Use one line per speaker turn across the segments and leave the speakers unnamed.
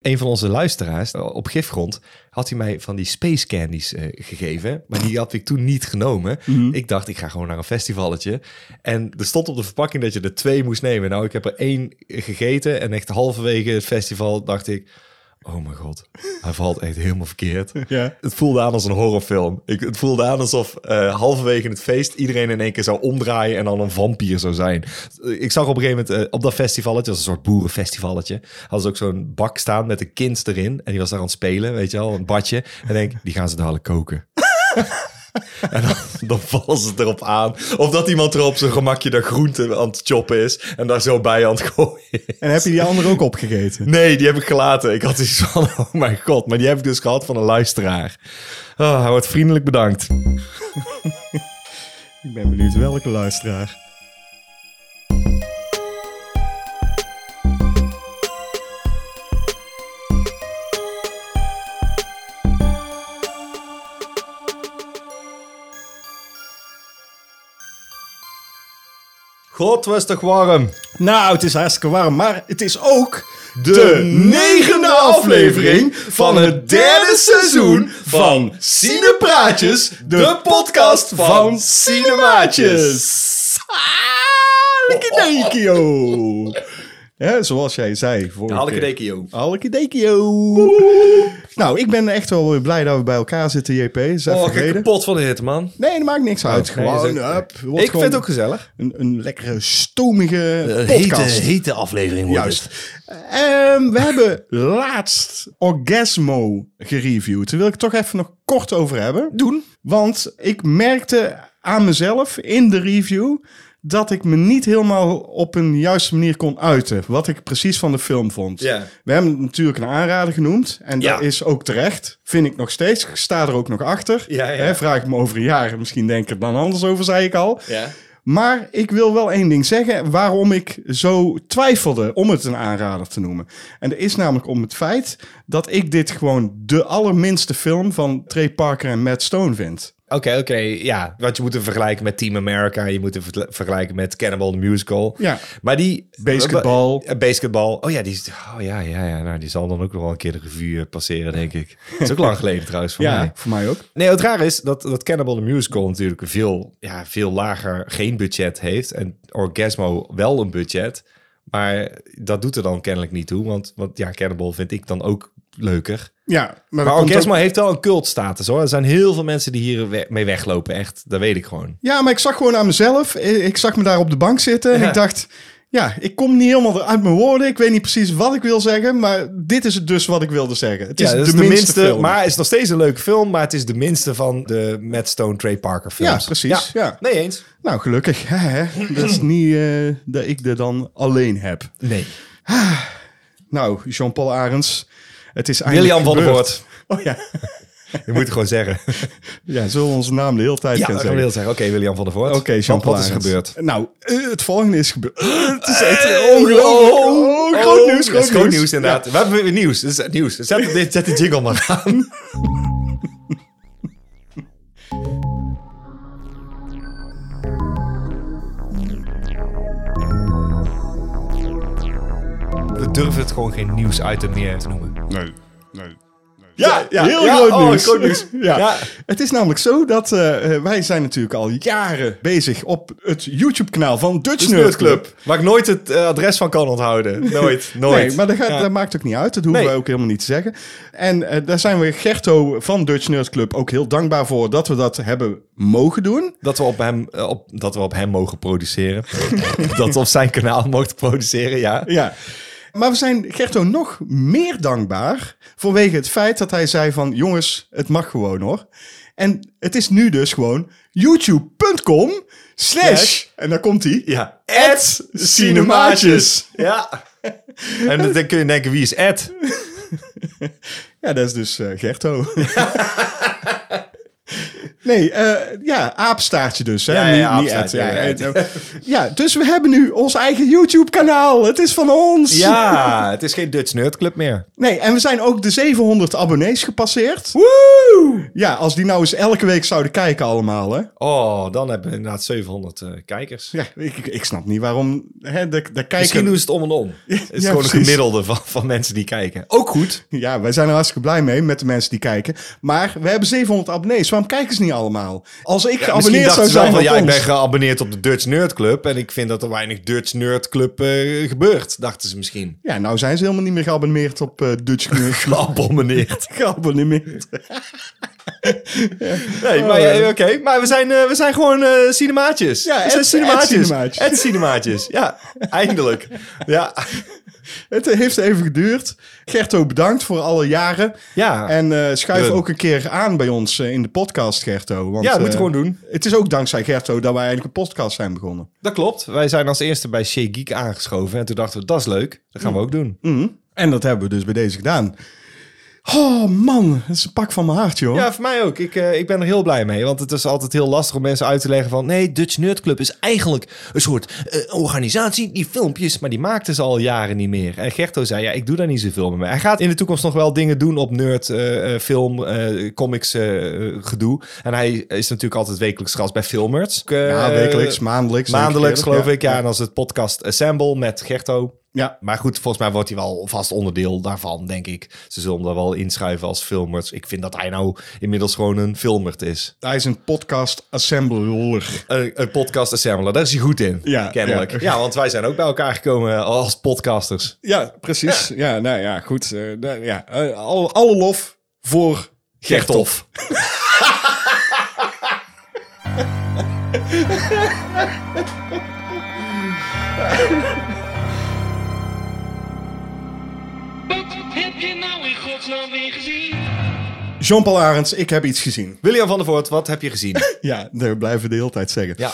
Een van onze luisteraars eh, op gifgrond had hij mij van die space candies eh, gegeven. Maar die had ik toen niet genomen. Ik dacht, ik ga gewoon naar een festivalletje. En er stond op de verpakking dat je er twee moest nemen. Nou, ik heb er één gegeten. En echt halverwege het festival dacht ik... Oh mijn god, hij valt echt helemaal verkeerd.
Ja.
Het voelde aan als een horrorfilm. Ik, het voelde aan alsof eh, halverwege het feest iedereen in één keer zou omdraaien en dan een vampier zou zijn. Ik zag op een gegeven moment eh, op dat festivalletje, dat was een soort boerenfestivalletje, hadden ze ook zo'n bak staan met een kind erin. En die was daar aan het spelen, weet je wel, een badje. En denk, die gaan ze dadelijk koken. En dan, dan vallen ze erop aan. Of dat iemand er op zijn gemakje de groente aan het choppen is. En daar zo bij aan het gooien.
En heb je die andere ook opgegeten?
Nee, die heb ik gelaten. Ik had iets van, oh mijn god. Maar die heb ik dus gehad van een luisteraar. Oh, hij wordt vriendelijk bedankt.
Ik ben benieuwd welke luisteraar.
God, was toch warm.
Nou, het is hartstikke warm, maar het is ook
De, negende aflevering van het derde seizoen van Cinepraatjes. De podcast van Cinemaatjes.
Alkedekio. Ja, zoals jij zei. vorige keer.
Alkedekio.
Alkedekio. Nou, ik ben echt wel weer blij dat we bij elkaar zitten, JP. Dat is even
Oh, ik ben
geleden.
kapot van de hit, man.
Nee, dat maakt niks uit.
Nee, dat
Gewoon,
is ook-
hup, wordt
ik
gewoon
vind het ook gezellig. Eh,
Een, een lekkere, stomige
Hete,
podcast.
hete aflevering wordt
Juist. Ehm, we hebben laatst Orgasmo gereviewd. Daar wil ik het toch even nog kort over hebben. Doen. Want ik merkte aan mezelf in de review dat ik me niet helemaal op een juiste manier kon uiten. Wat ik precies van de film vond.
Ja.
We hebben het natuurlijk een aanrader genoemd. En
Ja.
dat is ook terecht. Vind ik nog steeds. Ik sta er ook nog achter.
Ja, ja.
Hè, vraag ik me over een jaar. Misschien denk ik er dan anders over, zei ik al.
Ja.
Maar ik wil wel één ding zeggen waarom ik zo twijfelde om het een aanrader te noemen. En dat is namelijk om het feit dat ik dit gewoon de allerminste film van Trey Parker en Matt Stone vind.
Oké, oké, ja. Want je moet hem vergelijken met Team America. Je moet hem vergel- vergelijken met Cannibal the Musical.
Ja.
Maar die...
Basketbal.
Eh, Basketbal. Oh ja, die, is- oh, ja, ja, ja. Nou, die zal dan ook nog wel een keer de revue eh, passeren, denk ik. Dat is ook lang geleden trouwens voor mij.
voor mij ook.
Nee, het raar is dat, dat Cannibal the Musical natuurlijk veel, ja, veel lager geen budget heeft. En Orgasmo wel een budget. Maar dat doet er dan kennelijk niet toe. Want, want ja, Cannibal vind ik dan ook leuker.
Ja, maar, dat
Maar
komt
Orgasmo
ook-
heeft wel een cultstatus hoor. Er zijn heel veel mensen die hier we- mee weglopen. Echt, dat weet ik gewoon.
Ja, maar ik zag gewoon aan mezelf. I- Ik zag me daar op de bank zitten en
Ja.
ik dacht... Ja, ik kom niet helemaal uit mijn woorden. Ik weet niet precies wat ik wil zeggen, maar dit is het dus wat ik wilde zeggen. Het is,
ja, dat
de, minste, film.
maar het is nog steeds een leuke film. Maar het is de minste van de Matt Stone, Trey Parker films.
Ja, precies, ja.
Nee eens.
Nou, gelukkig. hè, hè. Dat is niet eh, dat ik er dan alleen heb.
Nee.
Nou, Jean-Paul Arends. Het is eindelijk
William van der
gebeurd.
Voort.
Oh ja.
Je moet het gewoon zeggen.
ja, zullen we onze naam de hele tijd
Ja,
gaan
dat
zeggen.
wil zeggen. Oké, William van der Voort.
Oké, Jean-Paul
Wat is er
Arends.
gebeurd?
Nou, eh, het volgende is gebeurd. het is echt
Eh,
ongelooflijk.
oh,
Oh,
oh,
groot nieuws,
dat is
groot,
groot nieuws. inderdaad. We hebben weer nieuws. Dit is het nieuws. Zet, dit- zet de jingle maar aan. We durven het gewoon geen nieuwsitem meer te noemen.
Nee, nee. Ja, ja, heel groot
oh,
nieuws.
groot nieuws.
ja.
Ja.
Het is namelijk zo dat eh, eh, wij zijn natuurlijk al jaren bezig op het YouTube-kanaal van
Dus
Dutch Nerd Club.
Waar ik nooit het eh, adres van kan onthouden. Nooit, nooit.
Nee, maar dat, gaat,
Ja.
dat maakt ook niet uit. Dat hoeven
Nee.
wij ook helemaal niet te zeggen. En eh, daar zijn we Gerto van Dutch Nerd Club ook heel dankbaar voor dat we dat hebben mogen doen.
Dat we op hem, eh, op, dat we op hem mogen produceren. dat we op zijn kanaal mogen produceren, ja.
Ja. Maar we zijn Gerto nog meer dankbaar vanwege het feit dat hij zei van... jongens, het mag gewoon hoor. En het is nu dus gewoon youtube.com slash... En daar komt hij.
Ja.
At Cinemaatjes.
Ja. En dan kun je denken, wie is Ed?
Ja, dat is dus eh, Gerto. Nee, eh, ja, aapstaartje dus. Hè?
Ja, ja, ja,
Niet- niet
aapstaartje,
ad,
ja,
ja, ja. Ja, dus we hebben nu ons eigen YouTube-kanaal. Het is van ons.
Ja, het is geen Dutch Nerd Club meer.
Nee, en we zijn ook de 700 abonnees gepasseerd.
Woe!
Ja, als die nou eens elke week zouden kijken allemaal, hè.
Oh, dan hebben we inderdaad 700 eh, kijkers.
Ja, ik, ik- ik snap niet waarom hè, de, de kijker...
Misschien doen ze het om en om. Het is
ja,
gewoon een
precies.
gemiddelde van, van mensen die kijken. Ook goed.
Ja, wij zijn er hartstikke blij mee met de mensen die kijken. Maar we hebben 700 abonnees. Waarom kijken ze niet allemaal? Als ik
Misschien
geabonneerd
dachten
zou
ze wel
zijn
van,
op
ja, ik ben
ons...
geabonneerd op de Dutch Nerd Club. En ik vind dat er weinig Dutch Nerd Club eh, gebeurt, dachten ze misschien.
Ja, nou zijn ze helemaal niet meer geabonneerd op eh Dutch Club.
Geabonneerd.
geabonneerd. Oh,
Nee, maar, ja, oké. maar we, zijn, eh, we zijn gewoon eh, cinemaatjes.
Ja,
we
Ed-
zijn
Ed cinemaatjes.
Ed cinemaatjes. Ja, eindelijk. Ja,
Het heeft even geduurd. Gerto, bedankt voor alle jaren.
ja.
En eh, schuif
Run.
ook een keer aan bij ons eh, in de podcast, Gerto. Want,
ja dat moet
eh,
je gewoon doen.
Het is ook dankzij Gerto dat wij eigenlijk een podcast zijn begonnen.
Dat klopt. Wij zijn als eerste bij Shea Geek aangeschoven. En toen dachten we, dat is leuk. Dat gaan we ook doen.
Mhm. En dat hebben we dus bij deze gedaan. Oh man, dat is een pak van mijn hart, joh.
Ja, voor mij ook. Ik, eh, ik ben er heel blij mee. Want het is altijd heel lastig om mensen uit te leggen van... Nee, Dutch Nerd Club is eigenlijk een soort eh, organisatie die filmpjes... Maar die maakten ze al jaren niet meer. En Gerto zei, ja, ik doe daar niet zoveel mee. Hij gaat in de toekomst nog wel dingen doen op nerd, eh, eh, film, eh, comics eh, eh, gedoe. En hij is natuurlijk altijd wekelijks gast bij Filmerts. Eh,
Ja, wekelijks, maandelijks.
Maandelijks,
zeker eerder.
geloof ik. Ja, en als het podcast Assemble met Gerto...
Ja.
Maar goed, volgens mij wordt hij wel vast onderdeel daarvan, denk ik. Ze zullen hem daar wel inschuiven als filmers. Ik vind dat hij nou inmiddels gewoon een filmert is.
Hij is een podcast assembler.
Een, een podcast assembler, daar is hij goed in,
Ja,
kennelijk. Ja.
ja.
want wij zijn ook bij elkaar gekomen als podcasters.
Ja, precies. Ja, nou ja, goed. eh, nou ja, eh, alle, alle lof voor
Gerthof.
Wat heb je nou in godsnaam weer gezien?
Jean-Paul Arends. Ik heb iets gezien.
William van der Voort, wat heb je gezien?
Ja, dat blijven we de hele tijd zeggen.
Ja,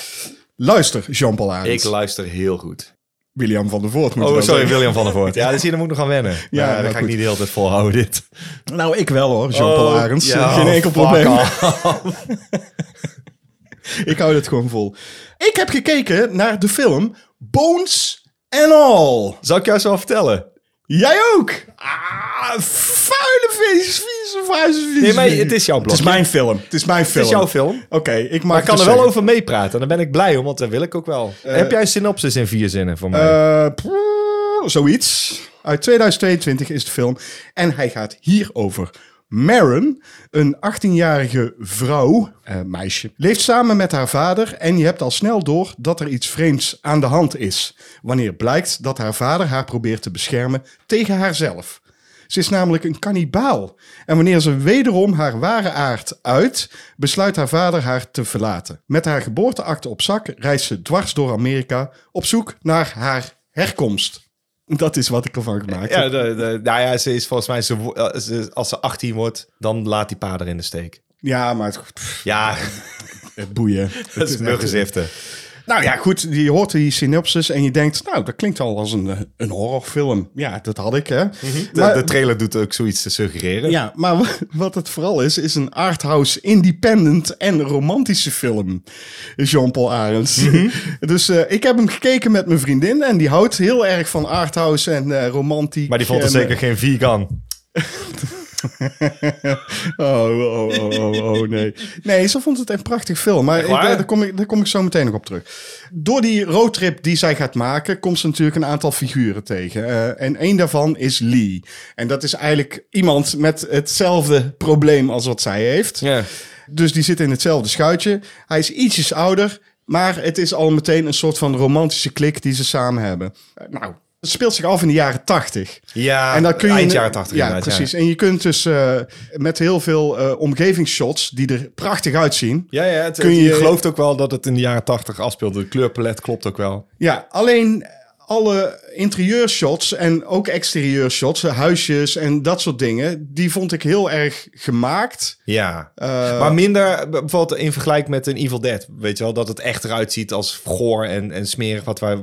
Luister, Jean-Paul Arends.
ik luister heel goed. Dus
William van der Voort moet
Oh,
wel
sorry,
zeggen.
William van der Voort. Ja, dus hier daar moet ik nog aan wennen. Ja,
nou
dat ga ik
goed.
niet de hele tijd volhouden, dit.
Nou, ik wel hoor, Jean-Paul
Oh,
Arends.
ja,
Geen enkel
fuck
probleem.
off.
Ik hou dit gewoon vol. Ik heb gekeken naar de film Bones and All.
Zal ik jou zo vertellen?
Jij ook? Ah, vuile vies, vieze, vuile vies.
Nee, maar het is jouw
Het is
blokje.
mijn film. Het is mijn film.
Het is jouw film.
Oké, ik mag
Maar ik kan er
het dus
wel
zeggen.
over meepraten. En daar ben ik blij om, want dat wil ik ook wel. Heb jij een synopsis in vier zinnen voor mij?
Eh, pff, zoiets. Uit 2022 is de film. En hij gaat hierover. Maren, een 18-jarige vrouw, eh, meisje, leeft samen met haar vader en je hebt al snel door dat er iets vreemds aan de hand is. Wanneer blijkt dat haar vader haar probeert te beschermen tegen haarzelf. Ze is namelijk een kannibaal. En wanneer ze wederom haar ware aard uit, besluit haar vader haar te verlaten. Met haar geboorteakte op zak reist ze dwars door Amerika op zoek naar haar herkomst. Dat is wat ik ervan gemaakt
ja,
heb.
de, de- nou ja, ze is volgens mij, ze, wo- eh, ze- als ze 18 wordt, dan laat die pa er in de steek.
Ja, maar het, pff,
Ja,
het boeien.
dat is
echt-
muggenziften.
Nou ja, goed, je hoort die synopsis en je denkt, nou, dat klinkt al als een, eh, een horrorfilm. Ja, dat had ik, hè.
De,
Maar-
de trailer doet ook zoiets te suggereren.
Ja, maar wa- wat het vooral is, is een arthouse, independent en romantische film. Jean-Paul Arends.
Mhm.
Dus eh, ik heb hem gekeken met mijn vriendin en die houdt heel erg van arthouse en eh romantiek.
Maar die vond er
en, eh,
zeker geen vegan.
Oh, oh, oh, oh, oh, nee. Nee, ze vond het een prachtig film. Maar ik, eh,
waar?
daar, kom ik, daar kom ik zo meteen nog op terug. Door die roadtrip die zij gaat maken, komt ze natuurlijk een aantal figuren tegen. Eh, en één daarvan is Lee. En dat is eigenlijk iemand met hetzelfde probleem als wat zij heeft.
Ja.
Dus die zit in hetzelfde schuitje. Hij is ietsjes ouder, maar het is al meteen een soort van romantische klik die ze samen hebben. Eh, Nou, het speelt zich af in de jaren tachtig.
Ja,
En dan kun je
eind jaren 80
Ja,
inderdaad, ja.
precies. En je kunt dus eh, met heel veel eh, omgevingsshots die er prachtig uitzien.
Ja, ja het, eh,
Kun
je,
je-
gelooft ook wel dat het in de jaren 80 afspeelde. De kleurpalet klopt ook wel.
Ja, alleen alle interieurshots en ook exterieurshots, eh, huisjes en dat soort dingen, die vond ik heel erg gemaakt.
Ja,
Eh,
maar minder bijvoorbeeld in vergelijking met een Evil Dead. Weet je wel, dat het echt eruit ziet als goor en, en smerig. Wat wij,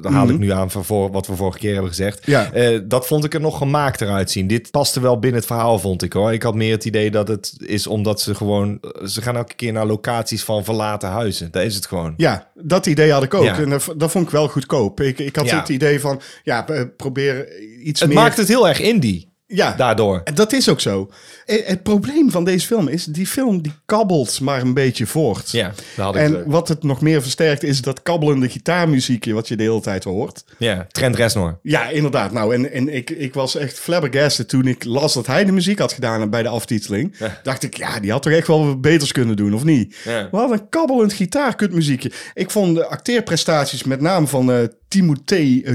daar haal ik nu aan van voor, wat we vorige keer hebben gezegd.
Mhm. Ja.
Eh, dat vond ik er nog gemaakter uitzien. Dit paste wel binnen het verhaal, vond ik hoor. Ik had meer het idee dat het is omdat ze gewoon... Ze gaan elke keer naar locaties van verlaten huizen. Daar is het gewoon.
Ja, dat idee had ik ook.
Ja.
En dat, v- dat vond ik wel goedkoop. Ik, ik had
Ja.
het idee van, ja, eh, probeer iets
Het
meer...
maakt het heel erg indie,
ja,
daardoor.
En Dat is ook zo. Eh, Het probleem van deze film is, die film die kabbelt maar een beetje voort.
Ja, daar had ik het
En
ook.
wat het nog meer versterkt is dat kabbelende gitaarmuziekje wat je de hele tijd hoort.
Ja, Trent Reznor.
Ja, inderdaad. Nou, en, en ik, ik was echt flabbergasted toen ik las dat hij de muziek had gedaan bij de aftiteling. Dacht ik, ja, die had toch echt wel wat beters kunnen doen, of niet?
Ja.
Wat een kabbelend gitaarkutmuziekje. Ik vond de acteerprestaties met name van eh Timothée eh,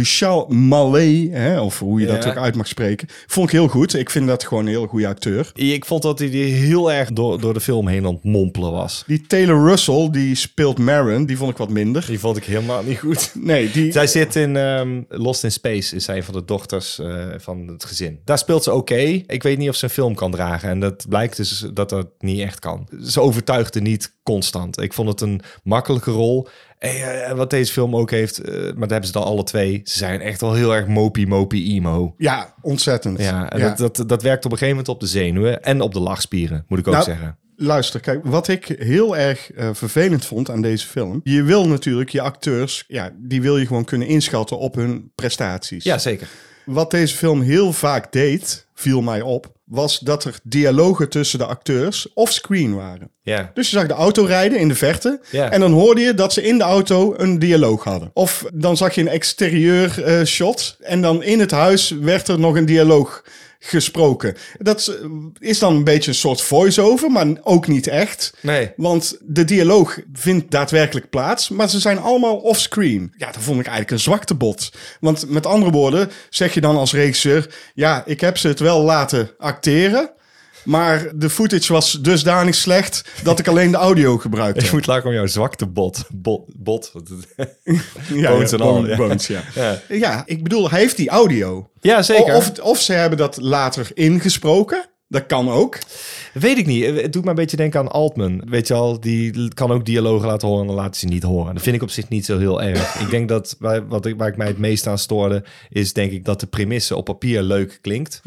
Chalamet, hè, of hoe je dat
Ja.
ook uit mag spreken, vond ik heel goed. Ik vind dat gewoon een hele goede acteur.
Ik vond dat hij die heel erg door, door de film heen aan het mompelen was.
Die Taylor Russell, die speelt Maron, die vond ik wat minder.
Die vond ik helemaal niet goed.
Nee, die...
Zij zit in ehm, Lost in Space, is zij van de dochters eh, van het gezin. Daar speelt ze oké. Ik weet niet of ze een film kan dragen. En dat blijkt dus dat dat niet echt kan. Ze overtuigde niet constant. Ik vond het een makkelijke rol. En, eh, wat deze film ook heeft, eh, maar dat hebben ze dan alle twee. Ze zijn echt wel heel erg mopie, mopie, emo.
Ja, ontzettend.
Ja, en Dat, dat, dat werkt op een gegeven moment op de zenuwen en op de lachspieren, moet ik ook
Nou,
zeggen.
Luister, kijk, wat ik heel erg eh, vervelend vond aan deze film. Je wil natuurlijk je acteurs, ja, die wil je gewoon kunnen inschatten op hun prestaties.
Ja, zeker.
Wat deze film heel vaak deed, viel mij op, was dat er dialogen tussen de acteurs off-screen waren.
Ja.
Dus je zag de auto rijden in de verte.
Ja.
En dan hoorde je dat ze in de auto een dialoog hadden. Of dan zag je een exterieur eh, shot. En dan in het huis werd er nog een dialoog gesproken. Dat is- is dan een beetje een soort voice-over, maar ook niet echt.
Nee.
Want de dialoog vindt daadwerkelijk plaats, maar ze zijn allemaal offscreen. Ja, dat vond ik eigenlijk een zwakte bot. Want met andere woorden, zeg je dan als regisseur: ja, ik heb ze het wel laten acteren. Maar de footage was dusdanig slecht dat ik alleen de audio gebruikte.
Ik moet lachen om jouw zwakte bot. Bot. bot. want het-
Ja,
bones en al,
bone-
ja.
bones, ja.
Ja.
Ja, ik bedoel, hij heeft die audio.
Ja, zeker.
Of, of ze hebben dat later ingesproken. Dat kan ook.
Weet ik niet. Eh, Het doet me een beetje denken aan Altman. Weet je al, die kan ook dialogen laten horen en dan laat ze niet horen. Dat vind ik op zich niet zo heel erg. ik denk dat waar, wat ik, waar ik mij het meest aan stoorde, is denk ik dat de premisse op papier leuk klinkt.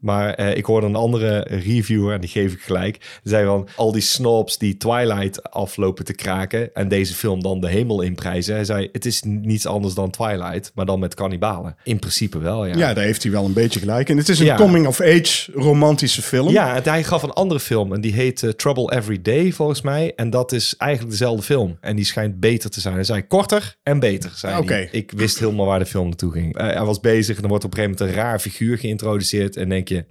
Maar eh, ik hoorde een andere reviewer, en die geef ik gelijk, die zei van al die snobs die Twilight aflopen te kraken en deze film dan de hemel inprijzen. Hij zei, het is niets anders dan Twilight, maar dan met kannibalen. In principe wel,
Ja, daar heeft hij wel een beetje gelijk. En het is een
Ja.
coming-of-age romantische film.
Ja, het- hij gaf een andere film en die heet eh, Trouble Every Day volgens mij. En dat is eigenlijk dezelfde film. En die schijnt beter te zijn. Hij zei korter en beter. Zei hij.
Oké.
Ik wist helemaal waar de film naartoe ging. Eh, hij was bezig en dan wordt op een gegeven moment een raar figuur geïntroduceerd. En denk je,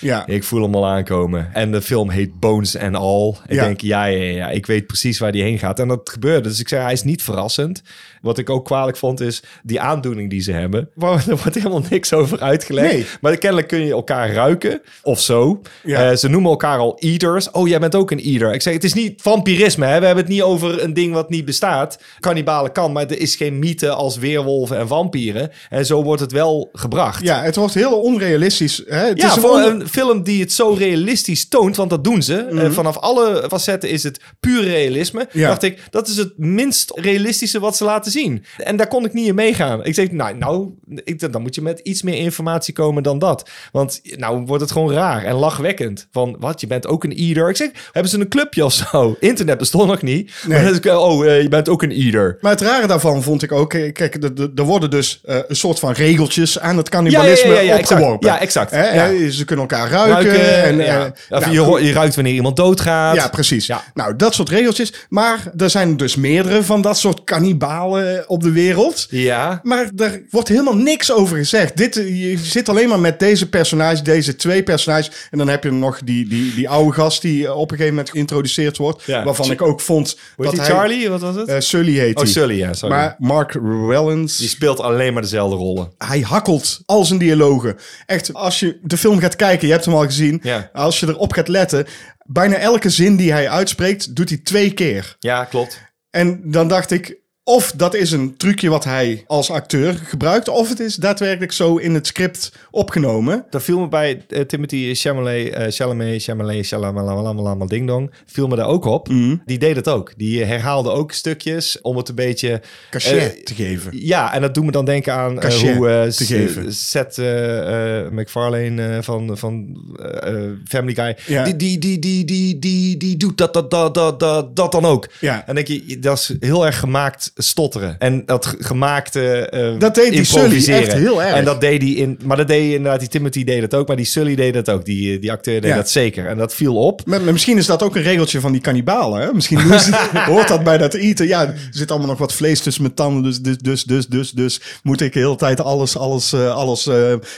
ja.
ik voel hem al aankomen. En de film heet Bones and All. Ik
Ja.
denk, ja, ja, ja, ik weet precies waar die heen gaat. En dat gebeurde. Dus ik zei, hij is niet verrassend. Wat ik ook kwalijk vond, is die aandoening die ze hebben. Waar, er wordt helemaal niks over uitgelegd.
Nee.
Maar kennelijk kun je elkaar ruiken of zo.
Ja.
Eh, ze noemen elkaar al eaters. Oh, jij bent ook een eater. Ik zeg, het is niet vampirisme. Hè? We hebben het niet over een ding wat niet bestaat. Kannibalen kan, maar er is geen mythe als weerwolven en vampieren. En zo wordt het wel gebracht.
Ja, het wordt heel onrealistisch. Hè? Het
Ja,
is een
voor
on-
een film die het zo realistisch toont, want dat doen ze. Eh, vanaf alle facetten is het puur realisme.
Mhm. Ja.
Dacht ik, dat is het minst realistische wat ze laten zien. En daar kon ik niet in meegaan. Ik zeg, nou, nou ik, dacht, dan moet je met iets meer informatie komen dan dat. Want nou wordt het gewoon raar en lachwekkend. Van, wat, je bent ook een eater? Ik zeg, hebben ze een clubje of zo? Internet bestond nog niet. Maar dan is ik, oh, eh, je bent ook een eater.
Maar het rare daarvan vond ik ook, eh, kijk, de- de- er worden dus eh, een soort van regeltjes aan het
Ja, ja,
cannibalisme
ja, ja, ja, exact.
opgeworpen.
Ja, exact.
Hè,
Ja.
hè, Ze kunnen elkaar ruiken.
Ruiken,
en,
ja.
eh,
Of
nou,
je, ho- je ruikt wanneer iemand doodgaat.
ja, precies.
Ja.
Nou, dat soort regeltjes. Maar er zijn dus meerdere van dat soort kannibalen eh, op de wereld.
Ja.
Maar daar wordt helemaal niks over gezegd. Dit, eh, je zit alleen maar met deze personage, deze twee personages. En dan heb je nog die, die, die oude gast die eh, op een gegeven moment geïntroduceerd wordt.
Ja.
Waarvan
Ch-
ik ook vond
Hoe heet
dat
die
hij...
Charlie? Wat was het?
eh, Sully heet
oh,
hij.
Sully, ja, sorry.
Maar Mark Rellens,
Die speelt alleen maar dezelfde rollen.
hij hakkelt al zijn dialogen. Echt, als je de film gaat kijken, je hebt hem al gezien.
Ja.
Als je erop gaat letten, bijna elke zin die hij uitspreekt, doet hij twee keer.
Ja, klopt.
En dan dacht ik, Of dat is een trucje wat hij als acteur gebruikt, of het is daadwerkelijk zo in het script opgenomen.
Dat viel me bij eh, Timothy Chalamet, eh Chalamet, Chalamet, Chalamalamalamalamal Ding Dong. Viel me daar ook op. Die deed het ook. Die herhaalde ook stukjes om het een beetje...
Cachet
eh,
te geven.
ja, en dat doet me dan denken aan eh,
Cachet
hoe eh,
te
S-
geven.
Seth eh, eh, MacFarlane eh, van, van eh, eh, Family Guy.
Ja.
Die, die, die, die, die, die, die doet dat, dat, dat, dat, dat, dat dan ook.
Ja.
En denk je, dat is heel erg gemaakt stotteren. En dat ge- gemaakte eh,
Dat deed die Sully
improviseren.
echt heel erg.
En dat deed hij in. Maar dat deed inderdaad, die Timothy deed dat ook. Maar die Sully deed dat ook. Die, eh, die acteur deed
Ja.
dat zeker. En dat viel op.
Maar, maar misschien is dat ook een regeltje van die kannibalen. Hè? Misschien doen ze- hoort dat bij dat eten. Ja, er zit allemaal nog wat vlees tussen mijn tanden. Dus, dus, dus, dus, dus, dus moet ik de hele tijd alles, alles, eh, alles eh,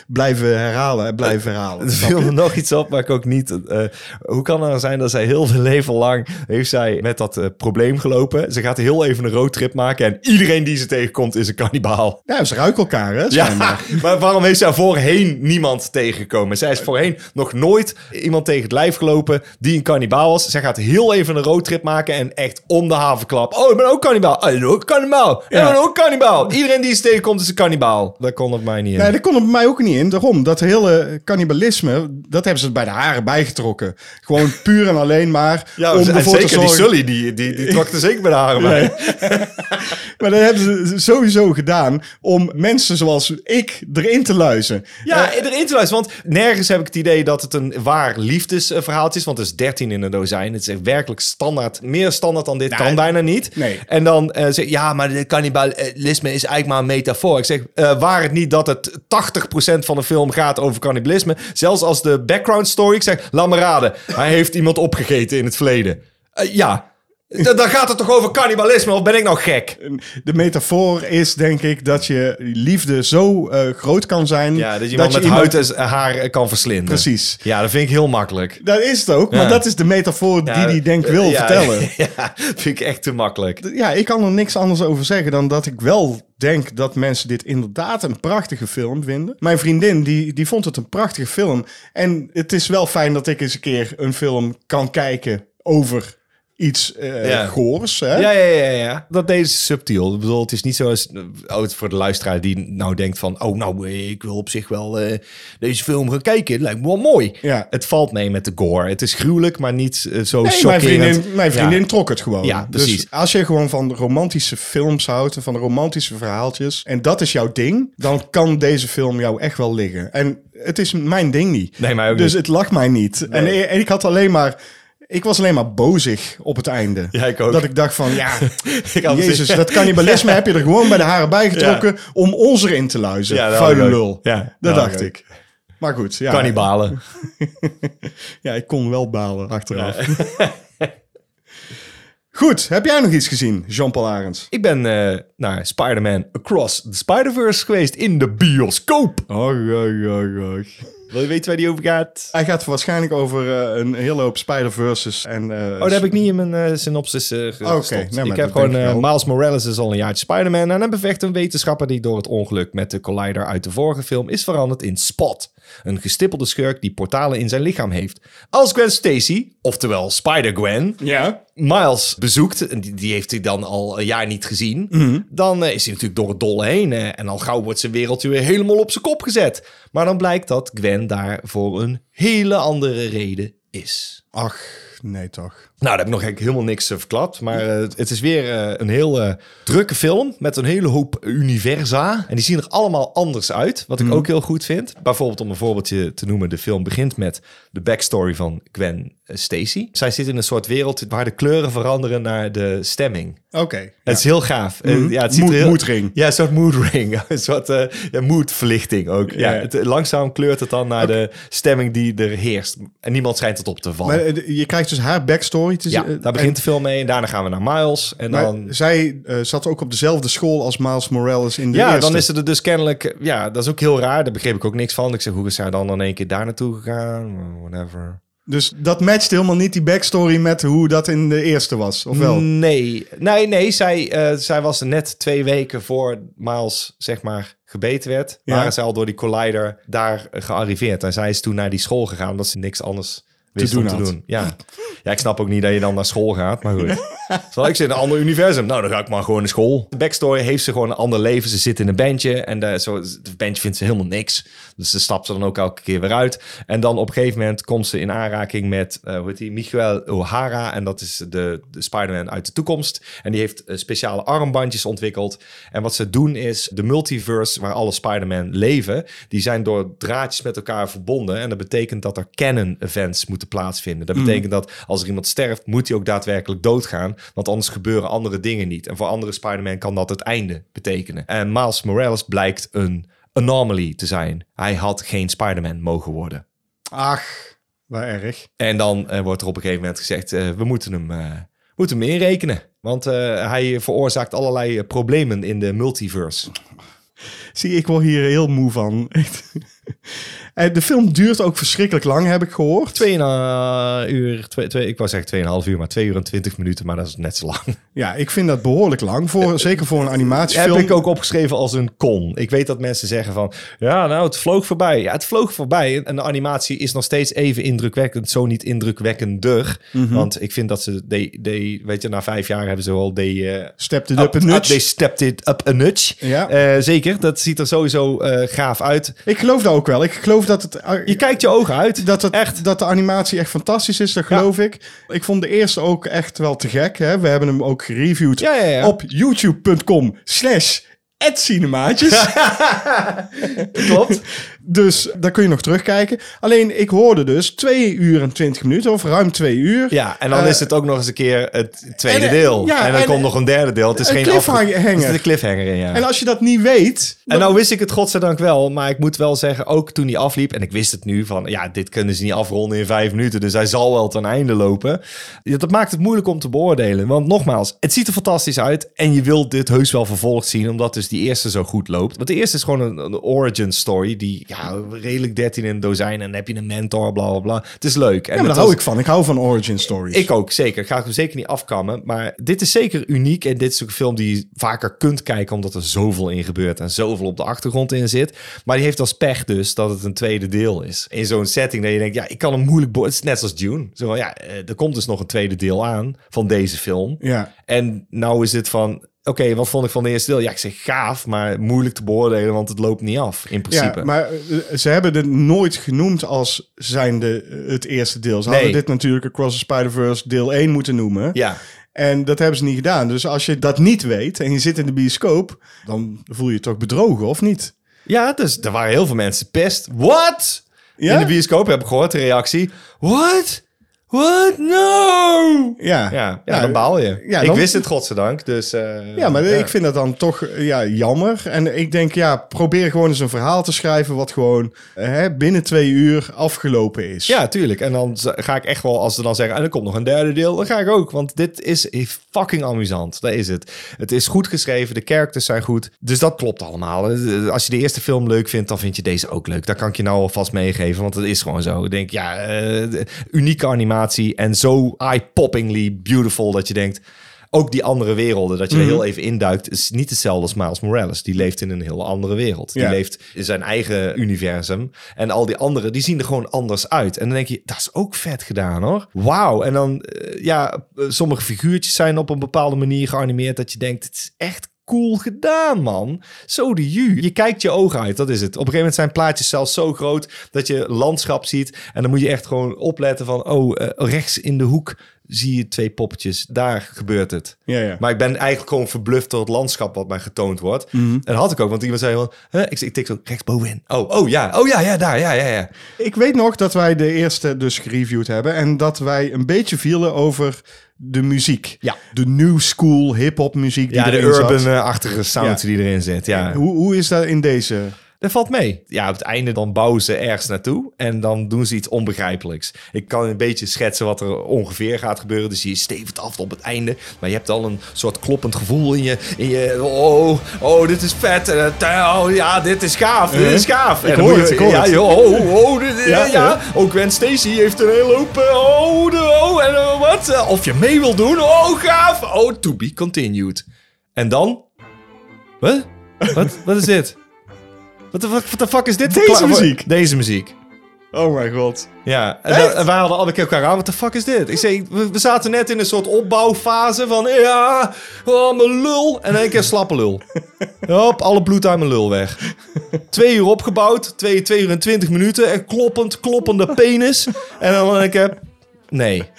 blijven herhalen. en Blijven herhalen.
Er viel me nog iets op, maar ik ook niet. eh, hoe kan het nou zijn dat zij heel veel leven lang heeft zij met dat eh, probleem gelopen? Ze gaat heel even een roadtrip maken en iedereen die ze tegenkomt is een kannibaal.
Ja, ze ruiken elkaar, hè? schijnbaar.
Ja, maar waarom heeft zij voorheen niemand tegengekomen? Zij is voorheen nog nooit iemand tegen het lijf gelopen die een kannibaal was. Zij gaat heel even een roadtrip maken en echt om de havenklap. Oh, ik ben ook kannibaal. Oh, ik ben ook kannibaal. Ik ben ook kannibaal. Iedereen die ze tegenkomt is een kannibaal. Dat kon op mij niet in.
Nee, dat kon er bij mij ook niet in. Daarom, dat hele cannibalisme, dat hebben ze bij de haren bijgetrokken. Gewoon puur en alleen maar
ja,
om
en
ervoor
zeker
te zorgen...
die Sully, die, die, die trok er zeker bij de haren bij.
Maar dat hebben ze sowieso gedaan om mensen zoals ik erin te luizen.
Ja, erin te luisteren. Want nergens heb ik het idee dat het een waar liefdesverhaaltje is. Want het is 13 in een dozijn. Het is echt werkelijk standaard. Meer standaard dan dit kan bijna niet.
nee.
En dan eh zeg je, ja, maar de cannibalisme is eigenlijk maar een metafoor. Ik zeg, eh, waar het niet dat het 80% van de film gaat over cannibalisme. Zelfs als de background story, ik zeg, laat me raden. Hij heeft iemand opgegeten in het verleden. Eh, ja. D- Dan gaat het toch over cannibalisme, of ben ik nou gek?
De metafoor is denk ik dat je liefde zo eh, groot kan zijn...
Ja, dat je iemand met
iemand-
huid en haar eh, kan verslinden.
Precies.
Ja, dat vind ik heel makkelijk.
Dat is het ook, maar dat is de metafoor die die denk wil
ja,
vertellen.
Ja, vind ik echt te makkelijk.
ja, ik kan er niks anders over zeggen dan dat ik wel denk dat mensen dit inderdaad een prachtige film vinden. Mijn vriendin, die, die vond het een prachtige film. En het is wel fijn dat ik eens een keer een film kan kijken over iets eh
Ja.
goors. Hè?
Ja, ja, ja, ja. Dat deze subtiel. Ik bedoel, het is niet zoals oh, het voor de luisteraar die nou denkt van... oh, nou, eh, ik wil op zich wel eh, deze film gaan kijken. Het lijkt me wel mooi.
Ja.
Het valt mee met de gore. Het is gruwelijk, maar niet eh, zo
Nee, mijn
chockerend.
vriendin, mijn vriendin
Ja.
trok het gewoon.
Ja, precies.
Dus als je gewoon van de romantische films houdt en van de romantische verhaaltjes en dat is jouw ding, dan kan deze film jou echt wel liggen. En het is mijn ding niet.
Nee, mij ook
dus
niet.
het lag mij niet. En, en ik had alleen maar, ik was alleen maar bozig op het einde.
Ja, ik ook.
Dat ik dacht van, ja,
Ik had het
jezus,
zeggen.
dat cannibalisme heb je er gewoon bij de haren bij getrokken om ons erin te luizen.
Ja, dat had ik
Vuile
ook.
lul.
Ja, dat
dat
had
dacht
ik ook.
ik. Maar goed, ja.
Kannibalen.
Ja, ik kon wel balen achteraf. Goed, heb jij nog iets gezien, Jean-Paul Arends?
Ik ben eh, naar Spider-Man Across the Spider-Verse geweest in de bioscoop.
Oh, oh, oh, oh.
Wil je weten waar die over gaat?
Hij gaat waarschijnlijk over eh, een hele hoop Spider-Verses en... eh,
Oh, dat heb ik niet in mijn eh, synopsis eh gestopt.
Oh, Oké, nee, maar
ik
dat
heb
denk
gewoon
ik
eh,
wel.
Miles Morales is al een jaartje Spider-Man en hij bevecht een wetenschapper die door het ongeluk met de Collider uit de vorige film is veranderd in Spot, een gestippelde schurk die portalen in zijn lichaam heeft. Als Gwen Stacy, oftewel Spider-Gwen,
Ja.
Miles bezoekt, en die, die heeft hij dan al een jaar niet gezien,
Mhm.
dan eh, is hij natuurlijk door het dolle heen. eh, en al gauw wordt zijn wereldje weer helemaal op zijn kop gezet. Maar dan blijkt dat Gwen daar voor een hele andere reden is.
Ach, nee toch.
Nou, daar heb ik nog eigenlijk helemaal niks eh, verklapt. Maar eh, het- het is weer eh, een heel eh, drukke film met een hele hoop universa. En die zien er allemaal anders uit, wat ik
Mhm.
ook heel goed vind. Bijvoorbeeld om een voorbeeldje te noemen. De film begint met de backstory van Gwen eh, Stacy. Zij zit in een soort wereld waar de kleuren veranderen naar de stemming.
Oké.
Het is heel gaaf. Eh, ja, het ziet
Mood-
er heel...
moodring.
Ja, een soort moodring. een soort eh ja, moodverlichting ook. Ja,
Ja.
het, langzaam kleurt het dan naar de stemming die er heerst. En niemand schijnt het op te vallen.
Maar eh, je krijgt dus haar backstory te
Ja,
zien. eh,
daar begint de film mee en daarna gaan we naar Miles. En
en- maar
dan,
zij eh, zat ook op dezelfde school als Miles Morales in de
ja,
eerste.
dan is het er dus kennelijk... Ja, dat is ook heel raar. Daar begreep ik ook niks van. Ik zeg, hoe is zij dan in één keer daar naartoe gegaan? Whatever.
Dus dat matcht helemaal niet die backstory met hoe dat in de eerste was, of wel?
Mm. Nee, nee, nee. Zij, eh, zij was net twee weken voor Miles, zeg maar, gebeten werd.
Ja.
Waren zij al door die collider daar gearriveerd. En zij is toen naar die school gegaan, omdat ze niks anders wist
doen
om te
had.
doen. Ja. ja, ik snap ook niet dat je dan naar school gaat, maar goed. Terwijl ik zit in een ander universum. Nou, dan ga ik maar gewoon naar school. De backstory heeft ze gewoon een ander leven. Ze zit in een bandje en daar zo, het bandje vindt ze helemaal niks. Dus ze stapt er dan ook elke keer weer uit. En dan op een gegeven moment komt ze in aanraking met, eh hoe heet die, Miguel O'Hara. En dat is de, de Spider-Man uit de toekomst. En die heeft eh, speciale armbandjes ontwikkeld. En wat ze doen is, de multiverse waar alle Spider-Man leven, die zijn door draadjes met elkaar verbonden. En dat betekent dat er canon events moeten plaatsvinden. Dat betekent dat als er iemand sterft, moet hij ook daadwerkelijk doodgaan. Want anders gebeuren andere dingen niet. En voor andere Spider-Man kan dat het einde betekenen. En Miles Morales blijkt een anomaly te zijn. Hij had geen Spider-Man mogen worden.
Ach, waar erg.
En dan eh, wordt er op een gegeven moment gezegd: eh, we moeten hem, eh, moeten hem inrekenen. Want eh, hij veroorzaakt allerlei eh, problemen in de multiverse.
Zie, ik word hier heel moe van. Echt. Eh, De film duurt ook verschrikkelijk lang, heb ik gehoord.
Twee en, eh, uur, twee, twee, ik wou zeggen tweeënhalf uur, maar twee uur en twintig minuten, maar dat is net zo lang.
Ja, ik vind dat behoorlijk lang. Voor, zeker voor een animatiefilm.
Eh, Heb ik ook opgeschreven als een kon. Ik weet dat mensen zeggen van, ja, nou, het vloog voorbij. Ja, het vloog voorbij. En de animatie is nog steeds even indrukwekkend, zo niet indrukwekkender. Want ik vind dat ze, they, they, weet je, na vijf jaar hebben ze al die... eh,
Stepped it up a notch.
They stepped it up a nudge.
Ja.
Eh, zeker, dat ziet er sowieso eh, gaaf uit.
Ik geloof dat ook wel. Ik geloof dat het... eh,
Je kijkt je ogen uit.
dat, het,
Echt.
dat de animatie echt fantastisch is, dat geloof ik. Ik vond de eerste ook echt wel te gek. Hè? We hebben hem ook gereviewd
Ja, ja, ja.
op youtube.com slash cinemaatjes.
Klopt.
dus daar kun je nog terugkijken. Alleen ik hoorde dus 2 uur en 20 minuten of ruim 2 uur.
Ja, en dan
Eh,
is het ook nog eens een keer het tweede
en, eh,
deel.
ja,
en dan
en,
komt
eh,
nog een derde deel. Het is
een
geen
cliffhanger.
afge- Er zit een cliffhanger in, ja.
En als je dat niet weet,
En nou wist ik het godzijdank wel, maar ik moet wel zeggen, ook toen hij afliep, en ik wist het nu van, ja, dit kunnen ze niet afronden in vijf minuten, dus hij zal wel ten einde lopen. Ja, Dat maakt het moeilijk om te beoordelen, want nogmaals, het ziet er fantastisch uit en je wilt dit heus wel vervolgd zien, omdat dus die eerste zo goed loopt. Want de eerste is gewoon een, een origin story, die ja, redelijk 13 in het dozijn en dan heb je een mentor, bla bla bla. Het is leuk. En
ja, maar
het
daar hou
was-
ik van. Ik hou van origin stories.
ik ook, zeker. Ga ik hem zeker niet afkammen. Maar dit is zeker uniek. En dit is ook een film die je vaker kunt kijken. Omdat er zoveel in gebeurt. En zoveel op de achtergrond in zit. Maar die heeft als pech dus dat het een tweede deel is. In zo'n setting dat je denkt, ja, ik kan hem moeilijk... bo- Het is net als Dune. Zo van, ja, eh, er komt dus nog een tweede deel aan van deze film.
Ja.
En nou is het van... Oké, wat vond ik van de eerste deel? Ja, ik zeg gaaf, maar moeilijk te beoordelen, want het loopt niet af in principe.
Ja, maar eh, ze hebben het nooit genoemd als zijnde eh, het eerste deel. Ze hadden
Nee.
dit natuurlijk Across the Spider-Verse deel 1 moeten noemen.
ja.
En dat hebben ze niet gedaan. Dus als je dat niet weet en je zit in de bioscoop, dan voel je je toch bedrogen, of niet?
Ja, dus er waren heel veel mensen pest. What?
Ja?
In de bioscoop heb ik gehoord de reactie. What? What? No!
Ja,
Ja, ja, dan baal je.
Nou, ja,
Ik
dan-
wist het godzijdank, dus... eh,
Ja, maar ik vind dat dan toch eh, ja, jammer. En ik denk, ja, probeer gewoon eens een verhaal te schrijven wat gewoon eh, hè, binnen twee uur afgelopen is.
Ja, tuurlijk. En dan z- ga ik echt wel, als ze dan zeggen, en er komt nog een derde deel, dan ga ik ook. Want dit is fucking amusant. Dat is het. Het is goed geschreven, de characters zijn goed. Dus dat klopt allemaal. Eh, Als je de eerste film leuk vindt, dan vind je deze ook leuk. Daar kan ik je nou alvast meegeven, want dat is gewoon zo. Ik denk, ja, eh, de- unieke animatie en zo eye-poppingly beautiful dat je denkt... Ook die andere werelden, dat je er heel even induikt, is niet hetzelfde als Miles Morales. Die leeft in een heel andere wereld. Die
Ja.
leeft heeft zijn eigen universum. En al die anderen, die zien er gewoon anders uit. En dan denk je, dat is ook vet gedaan hoor. Wauw. En dan, eh, ja, eh, sommige figuurtjes zijn op een bepaalde manier geanimeerd... dat je denkt, het is echt cool gedaan, man. Zo de ju. Je kijkt je ogen uit, dat is het. Op een gegeven moment zijn plaatjes zelfs zo groot... dat je landschap ziet. En dan moet je echt gewoon opletten van... oh, eh, rechts in de hoek zie je twee poppetjes. Daar gebeurt het.
Ja, ja.
Maar ik ben eigenlijk gewoon verbluft door het landschap wat mij getoond wordt.
Mhm.
En dat had ik ook, want iemand zei van, hè? ik, ik tik zo rechtsbovenin. Oh, oh ja, oh ja, ja, daar, ja, ja, ja.
Ik weet nog dat wij de eerste dus gereviewd hebben en dat wij een beetje vielen over de muziek.
Ja.
De new school hip-hop muziek. Die
Ja, de
erin zat.
urban-achtige sound
eh, Ja.
die erin zit, ja.
Hoe, hoe is dat in deze?
Dat valt mee. Ja, op het einde dan bouwen ze ergens naartoe en dan doen ze iets onbegrijpelijks. Ik kan een beetje schetsen wat er ongeveer gaat gebeuren. Dus je stevend af op het einde. Maar je hebt al een soort kloppend gevoel in je... In je oh, oh, dit is vet. En, eh, oh, ja, dit is gaaf. Dit is gaaf.
Eh? Ik
En dan
hoor
moet
het,
je-
ik hoor
ja,
het.
joh, oh, oh, dit, ja,
Ja,
ja. Ook Gwen Stacy heeft een hele hoop... eh, Oh, de- oh, en eh, wat? Eh, Of je mee wil doen? Oh, gaaf. Oh, to be continued. En dan? Wat? Wat, wat is dit? Wat de fuck, what the fuck is dit? voor
Deze
voor-
muziek?
Deze muziek.
Oh mijn god.
Ja, en, dan- en wij hadden alle keer elkaar aan, wat de fuck is dit? Ik zei, we, we zaten net in een soort opbouwfase van, ja, oh, mijn lul. En in één keer slappe lul. Hop, alle bloed uit mijn lul weg. Twee uur opgebouwd, twee, twee uur en twintig minuten, en kloppend, kloppende penis. En dan in één keer, nee.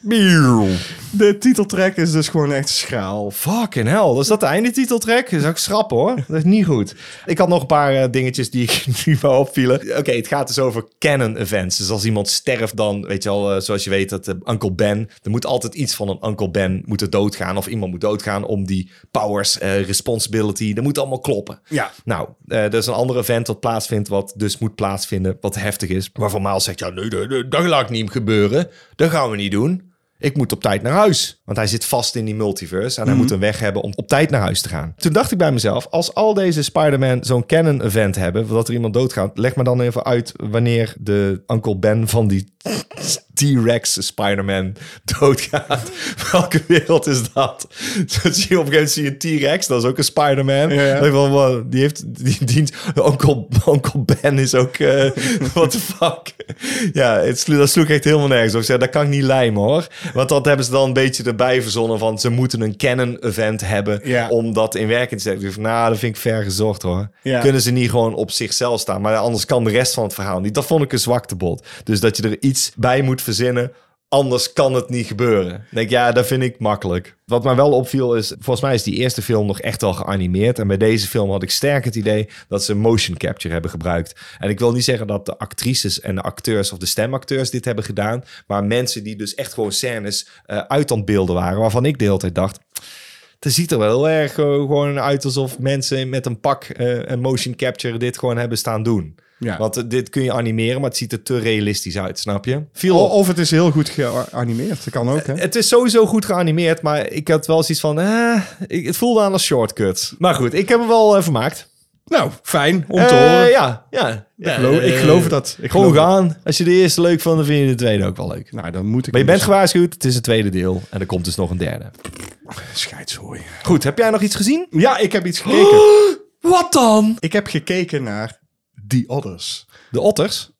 Bieuw.
De titeltrack is dus gewoon echt schaal.
Fucking hell, is dat de eindetiteltrack? Dat is ook schrappen hoor. Dat is niet goed. Ik had nog een paar eh, dingetjes die ik nu wel opvielen. Oké, het gaat dus over canon events. Dus als iemand sterft dan, weet je wel, eh, zoals je weet dat eh, Uncle Ben... Er moet altijd iets van een Uncle Ben moeten doodgaan. Of iemand moet doodgaan om die powers, eh, responsibility, dat moet allemaal kloppen.
Ja.
Nou, eh er is een ander event dat plaatsvindt, wat dus moet plaatsvinden, wat heftig is. Waarvan Maal zegt, ja, nee, nee, nee, dat laat ik niet gebeuren. Dat gaan we niet doen. Ik moet op tijd naar huis. Want hij zit vast in die multiverse. En hij
Mhm.
moet een weg hebben om op tijd naar huis te gaan. Toen dacht ik bij mezelf, als al deze Spider-Man zo'n canon event hebben, dat er iemand doodgaat, leg me dan even uit wanneer de Uncle Ben van die T-Rex Spider-Man doodgaat. Welke wereld is dat? Dat zie je op een gegeven moment zie je een T-Rex, dat is ook een Spider-Man.
Ja, ja.
Dan denk ik van, wow, Die heeft die dient. Onkel, onkel Ben is ook. eh what the fuck? Ja, het, slo- dat sloeg echt helemaal nergens op. Ik zei, dat kan ik niet lijmen hoor. Want dat hebben ze dan een beetje erbij verzonnen van ze moeten een canon-event hebben
Ja.
om dat in werking te zetten. Ik dacht, nou, dat vind ik ver gezocht hoor.
Ja.
Kunnen ze niet gewoon op zichzelf staan? Maar anders kan de rest van het verhaal niet. Dat vond ik een zwaktebod. Dus dat je er iets bij moet verzinnen. Anders kan het niet gebeuren. Ik Denk ja, dat vind ik makkelijk. Wat mij wel opviel is, volgens mij is die eerste film nog echt al geanimeerd. En bij deze film had ik sterk het idee dat ze motion capture hebben gebruikt. En ik wil niet zeggen dat de actrices en de acteurs of de stemacteurs dit hebben gedaan. Maar mensen die dus echt gewoon scènes eh, uit aan het beelden waren. Waarvan ik de hele tijd dacht, het ziet er wel heel erg eh, gewoon uit alsof mensen met een pak eh, en motion capture dit gewoon hebben staan doen.
Ja.
Want eh, dit kun je animeren, maar het ziet er te realistisch uit, snap je? Viel
O-
op.
Of het is heel goed geanimeerd. Dat kan ook, hè?
Het is sowieso goed geanimeerd, maar ik had wel zoiets van... Eh, ik, het voelde aan als shortcut. Maar goed, ik heb hem wel eh, vermaakt.
Nou, fijn om te
Eh,
horen.
ja, ja. Ja,
Ik geloof- ik
eh,
geloof dat. Ik
gewoon
geloof
gaan. Als je de eerste leuk vond, dan vind je de tweede ook wel leuk.
Nou, dan moet ik...
Maar je bent gewaarschuwd, het is het tweede deel. En er komt dus nog een derde.
Scheidshooi.
Goed, heb jij nog iets gezien?
Ja, ik heb iets gekeken.
Wat dan?
Ik heb gekeken naar The Others.
De otters?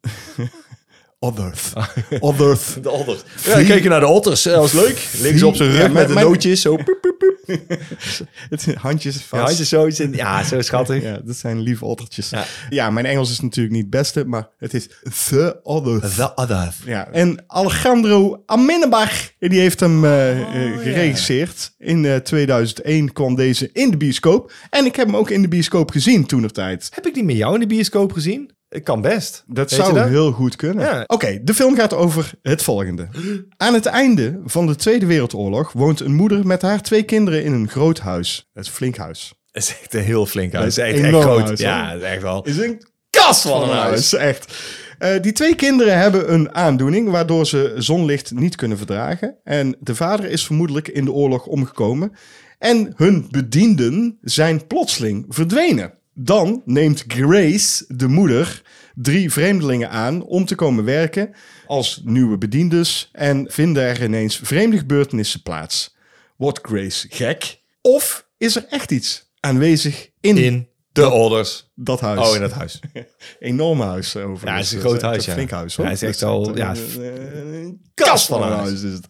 Others. Others.
De otters. Ja, dan keek je naar de otters. Dat was leuk. Links op zijn rug
Ja,
met,
mijn-
de
mijn-
nootjes. Zo.
Het, handjes
Ja,
vast.
zo, ja, zo schattig.
Ja, dat zijn lieve ottertjes.
Ja.
Ja. mijn Engels is natuurlijk niet het beste, maar het is The Others.
De otters.
Ja. En Alejandro Amenabach, die heeft hem eh, eh, geregisseerd. In eh, 2001 kwam deze in de bioscoop. En ik heb hem ook in de bioscoop gezien toen of tijd.
Heb ik die met jou in de bioscoop gezien? Ik kan best.
Dat
Weet
zou
je dat?
heel goed kunnen.
Ja.
Oké, de film gaat over het volgende. Aan het einde van de Tweede Wereldoorlog woont een moeder met haar twee kinderen in een groot huis. Het is een flink huis.
Dat is echt een heel flink huis.
Dat is
Echt, echt
enorm
groot.
huis, hè?
ja, dat is echt wel.
Is een
Kas van een huis.
huis, echt. Eh, die twee kinderen hebben een aandoening waardoor ze zonlicht niet kunnen verdragen. En de vader is vermoedelijk in de oorlog omgekomen. En hun bedienden zijn plotseling verdwenen. Dan neemt Grace, de moeder, drie vreemdelingen aan om te komen werken als nieuwe bediendes. En vinden er ineens vreemde gebeurtenissen plaats. Wordt Grace gek? Of is er echt iets aanwezig in,
In de otters.
dat huis?
Oh, in dat huis.
enorm huis eh, overigens.
Ja, het is een
Dat
groot
echt
huis,
Een
ja.
flink huis, hoor.
Ja, het is echt
Dat
wel,
een-
ja,
een- een
Kas
kast
van
van
een
een
huis.
huis is het.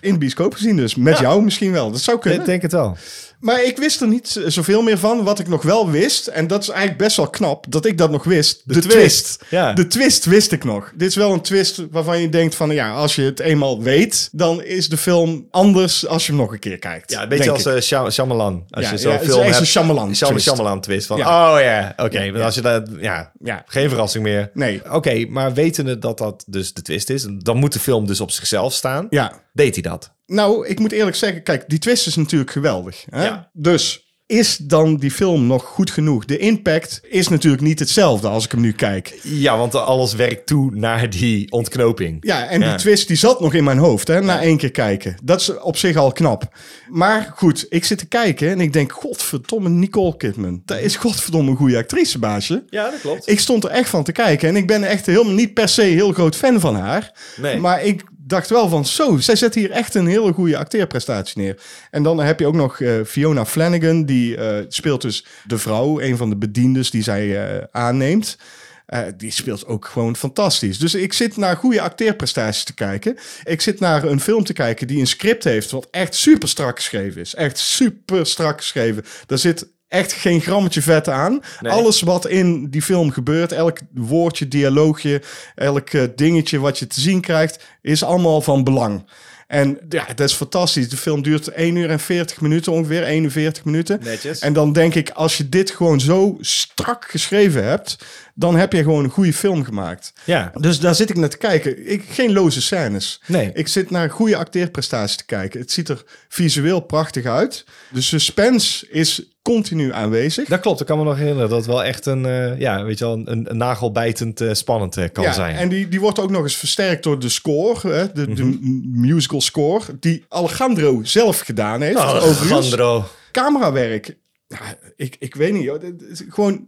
In de bioscoop gezien dus. Met jou misschien wel. Dat zou kunnen.
Ik denk het wel.
Maar ik wist er niet z- zoveel meer van. Wat ik nog wel wist, en dat is eigenlijk best wel knap, dat ik dat nog wist. De, twist.
Ja.
De twist wist ik nog. Dit is wel een twist waarvan je denkt van, ja, als je het eenmaal weet, dan is de film anders als je hem nog een keer kijkt.
Ja, een beetje
denk
als
ik.
eh, Shyam- Shyamalan. Als
Ja,
je zo'n
ja, het is
film
echt
hebt.
een Shyamalan
Shyam-
twist.
Shyamalan twist. Van,
Ja.
oh ja, oké. maar als je dat... Ja,
Ja.
geen verrassing meer.
Nee.
Oké, maar wetende dat dat dus de twist is, dan moet de film dus op zichzelf staan.
Ja.
Deed hij dat?
Nou, ik moet eerlijk zeggen, kijk, die twist is natuurlijk geweldig. Hè?
Ja.
Dus is dan die film nog goed genoeg? De impact is natuurlijk niet hetzelfde als ik hem nu kijk.
Ja, want alles werkt toe naar die ontknoping.
Ja, en
Ja.
die twist die zat nog in mijn hoofd, hè, na één keer kijken. Dat is op zich al knap. Maar goed, ik zit te kijken en ik denk, godverdomme Nicole Kidman. Dat is godverdomme een goede actrice, baasje.
Ja, dat klopt.
Ik stond er echt van te kijken en ik ben echt helemaal niet per se heel groot fan van haar.
Nee.
Maar ik dacht wel van zo, zij zet hier echt een hele goede acteerprestatie neer. En dan heb je ook nog eh, Fiona Flanagan, die eh, speelt dus de vrouw, een van de bediendes die zij eh, aanneemt. eh, die speelt ook gewoon fantastisch. Dus ik zit naar goede acteerprestaties te kijken. Ik zit naar een film te kijken die een script heeft wat echt super strak geschreven is. Echt super strak geschreven. Daar zit echt geen grammetje vet aan. Alles wat in die film gebeurt, elk woordje, dialoogje, elk eh, dingetje wat je te zien krijgt, is allemaal van belang. En ja, dat is fantastisch. De film duurt 1 uur en 40 minuten ongeveer, 41 minuten.
Netjes.
En dan denk ik, als je dit gewoon zo strak geschreven hebt, dan heb je gewoon een goede film gemaakt.
Ja.
Dus daar zit ik naar te kijken. Ik, geen loze scènes.
Nee.
Ik zit naar goede acteerprestaties te kijken. Het ziet er visueel prachtig uit. De suspense is continu aanwezig.
Dat klopt, ik kan me nog herinneren dat het wel echt een, eh, ja, weet je wel, een, een nagelbijtend eh, spannend eh, kan
ja,
zijn.
En die, die wordt ook nog eens versterkt door de score, hè, de, de m-
Mhm.
musical score, die Alejandro zelf gedaan heeft. Overigens,
Oh, Alejandro.
Camerawerk. Ja, ik, ik weet niet, joh. Dit is gewoon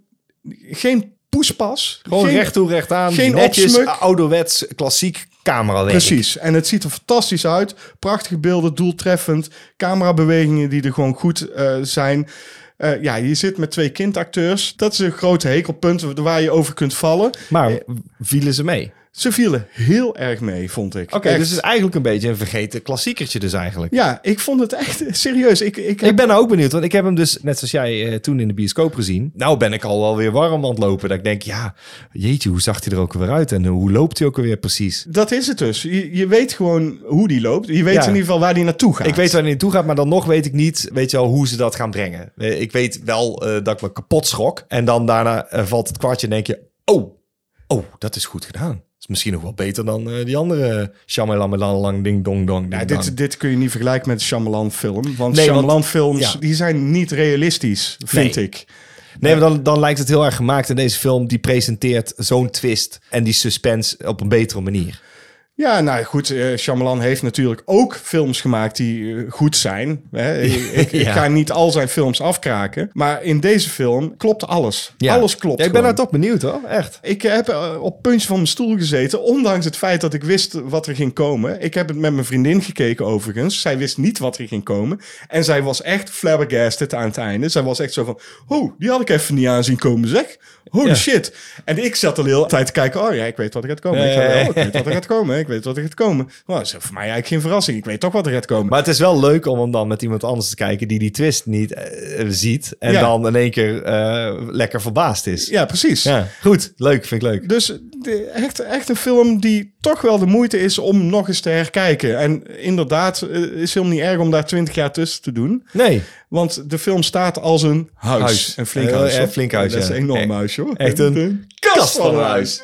geen poespas.
Gewoon
geen,
recht toe, recht aan.
geen
netjes,
opsmuk.
ouderwets, klassiek camerawerk.
Precies. En het ziet er fantastisch uit. Prachtige beelden, doeltreffend. Camerabewegingen die er gewoon goed eh, zijn. Eh, ja, je zit met twee kindacteurs. Dat is een grote hekelpunt waar je over kunt vallen.
Maar vielen ze mee?
Ze vielen heel erg mee, vond ik.
Oké,
Echt.
dus het is eigenlijk een beetje een vergeten klassiekertje dus eigenlijk.
Ja, ik vond het echt serieus. Ik, ik,
Ik ben nou ook benieuwd, want ik heb hem dus, net zoals jij eh, toen in de bioscoop gezien. Nou ben ik al wel weer warm aan het lopen. Dat ik denk, ja, jeetje, hoe zag hij er ook weer uit? En eh, hoe loopt hij ook weer precies?
Dat is het dus. Je, je weet gewoon hoe die loopt. Je weet
Ja.
in ieder geval waar die naartoe gaat.
Ik weet waar hij naartoe gaat, maar dan nog weet ik niet, weet je wel, hoe ze dat gaan brengen. Eh, Ik weet wel eh, dat ik me kapot schrok. En dan daarna eh, valt het kwartje en denk je, oh, oh, dat is goed gedaan. is misschien nog wel beter dan eh, die andere Shamalamelan lang ding dong dong.
Ja,
ding dong.
dit, dit kun je niet vergelijken met een Shyamalan-film. Want
Nee, want-
Shyamalan-films
ja.
die zijn niet realistisch, vind
Nee.
ik.
Nee, maar dan, dan lijkt het heel erg gemaakt. En deze film die presenteert zo'n twist en die suspense op een betere manier.
Ja, nou goed, eh Shyamalan heeft natuurlijk ook films gemaakt die eh, goed zijn. Hè? Ik, ik- ik
Ja.
ga niet al zijn films afkraken. Maar in deze film klopt alles. Alles klopt
Ja, ik ben
gewoon.
daar toch benieuwd hoor, echt.
Ik heb eh, op puntje van mijn stoel gezeten, ondanks het feit dat ik wist wat er ging komen. Ik heb het met mijn vriendin gekeken overigens. Zij wist niet wat er ging komen. En zij was echt flabbergasted aan het einde. Zij was echt zo van, oh, die had ik even niet aan zien komen zeg. Holy
Ja.
shit. En ik zat al de hele tijd te kijken, oh ja, ik weet wat er gaat komen. Ik, ga, oh, ik weet wat er gaat komen, ik weet wat er gaat komen. Nou, dat is voor mij eigenlijk geen verrassing. Ik weet toch wat er gaat komen.
Maar het is wel leuk om hem dan met iemand anders te kijken die die twist niet eh, eh, ziet. En
Ja.
dan in één keer eh, lekker verbaasd is.
ja, precies.
Ja, goed. Leuk, vind ik leuk.
Dus de- echt, echt een film die toch wel de moeite is om nog eens te herkijken. En inderdaad, eh, is helemaal niet erg om daar twintig jaar tussen te doen.
Nee,
Want de film staat als een huis.
Huis.
Een flink
Eh,
huis.
eh,
hoor.
flink huis,
Dat is
ja.
een enorm
Eh,
huis, hoor.
echt een kast van een huis.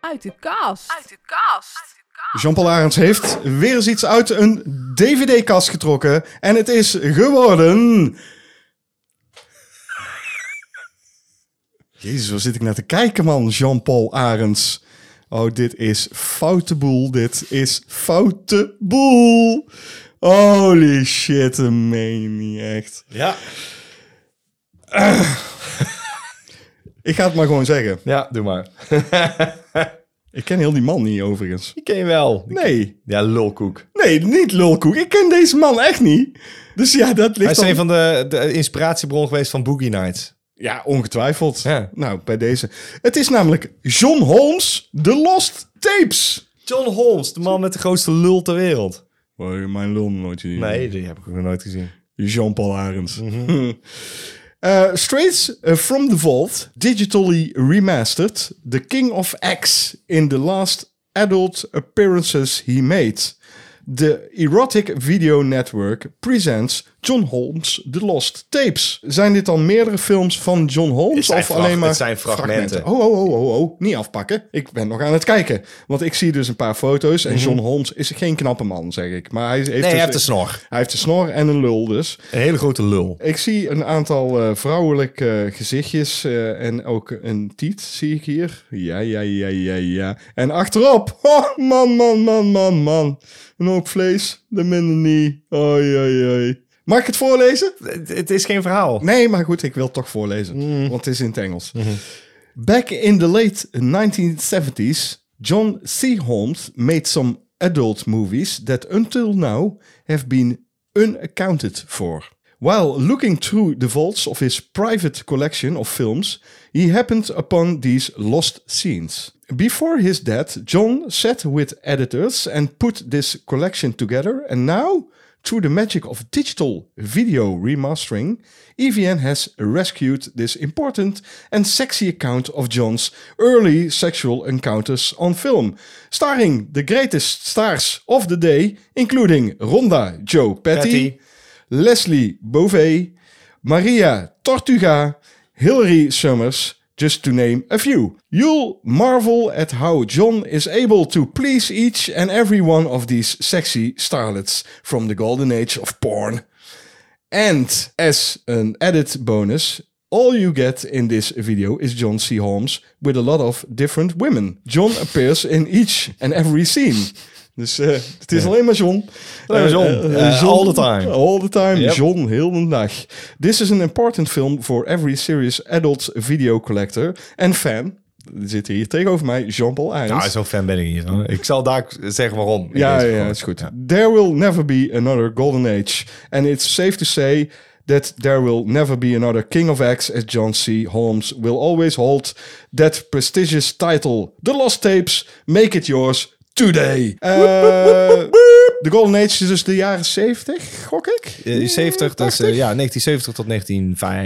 Uit de kast. Uit de kast.
Jean-Paul Arends heeft weer eens iets uit een DVD-kast getrokken. En het is geworden... Jezus, waar zit ik naar te kijken, man, Jean-Paul Arends. Oh, dit is foute boel. Dit is foute boel. Holy shit, dat meen je niet echt.
Ja.
Ik ga het maar gewoon zeggen.
Ja, doe maar.
Ik ken heel die man niet, overigens.
Die ken je wel. Die-
Nee,
Ja, lulkoek.
nee, niet lulkoek. Ik ken deze man echt niet. Dus ja, dat
Hij
ligt
is
dan-
een van de, de inspiratiebron geweest van Boogie Nights.
Ja, ongetwijfeld.
Ja.
Nou, bij deze. Het is namelijk John Holmes, The Lost Tapes.
John Holmes, de man met de grootste lul ter wereld.
Waar je mijn lul nooit gezien.
Nee, die heb ik ook nog nooit gezien.
Jean-Paul Arends. Mhm. Eh, Straight eh, from the Vault, digitally remastered, The King of X in the last adult appearances he made. The Erotic Video Network presents John Holmes The Lost Tapes. Zijn dit dan meerdere films van John Holmes
zijn
of
frag-
alleen maar
het zijn fragmenten.
Oh, oh, oh, oh, oh, niet afpakken. Ik ben nog aan het kijken, want ik zie dus een paar foto's en John Holmes is geen knappe man, zeg ik. Maar hij heeft,
Mhm. Nee,
dus-
hij heeft een snor.
hij heeft een snor en een lul dus.
Een hele grote lul.
Ik zie een aantal eh, vrouwelijke gezichtjes eh, en ook een tiet zie ik hier. Ja, ja, ja, ja, ja. En achterop, oh, man, man, man, man, man. Een hoop vlees, de minder niet. Oei, oei, oei. Mag ik het voorlezen?
Het, het is geen verhaal.
Nee, maar goed, ik wil het toch voorlezen, want het is in het Engels. Back in the late 1970s, John C. Holmes made some adult movies that until now have been unaccounted for. While looking through the vaults of his private collection of films, he happened upon these lost scenes. Before his death, John sat with editors and put this collection together, and now, through the magic of digital video remastering, EVN has rescued this important and sexy account of John's early sexual encounters on film, starring the greatest stars of the day, including Rhonda Joe Petty.
Petty.
Leslie Beauvais, Maria Tortuga, Hilary Summers, just to name a few. You'll marvel at how John is able to please each and every one of these sexy starlets from the golden age of porn. And as an added bonus, all you get in this video is John C. Holmes with a lot of different women. John appears in each and every scene. Dus eh, het is alleen maar John.
Alleen maar John.
Eh, eh,
Eh, all the time.
All the time.
Yep.
John, heel de dag. This is an important film for every serious adult video collector and fan. Er zit hier tegenover mij Jean-Paul Arends.
Nou, zo'n fan ben ik niet. hoor. Ik zal daar zeggen waarom. Ik
Ja,
weet
ja,
het
ja,
gewoon.
is goed.
Ja.
There will never be another golden age. And it's safe to say that there will never be another king of X as John C. Holmes will always hold that prestigious title. The Lost Tapes, make it yours today. Eh, De golden age is dus de jaren 70, gok ik?
Eh, 70, dus eh,
80?
ja, 1970 tot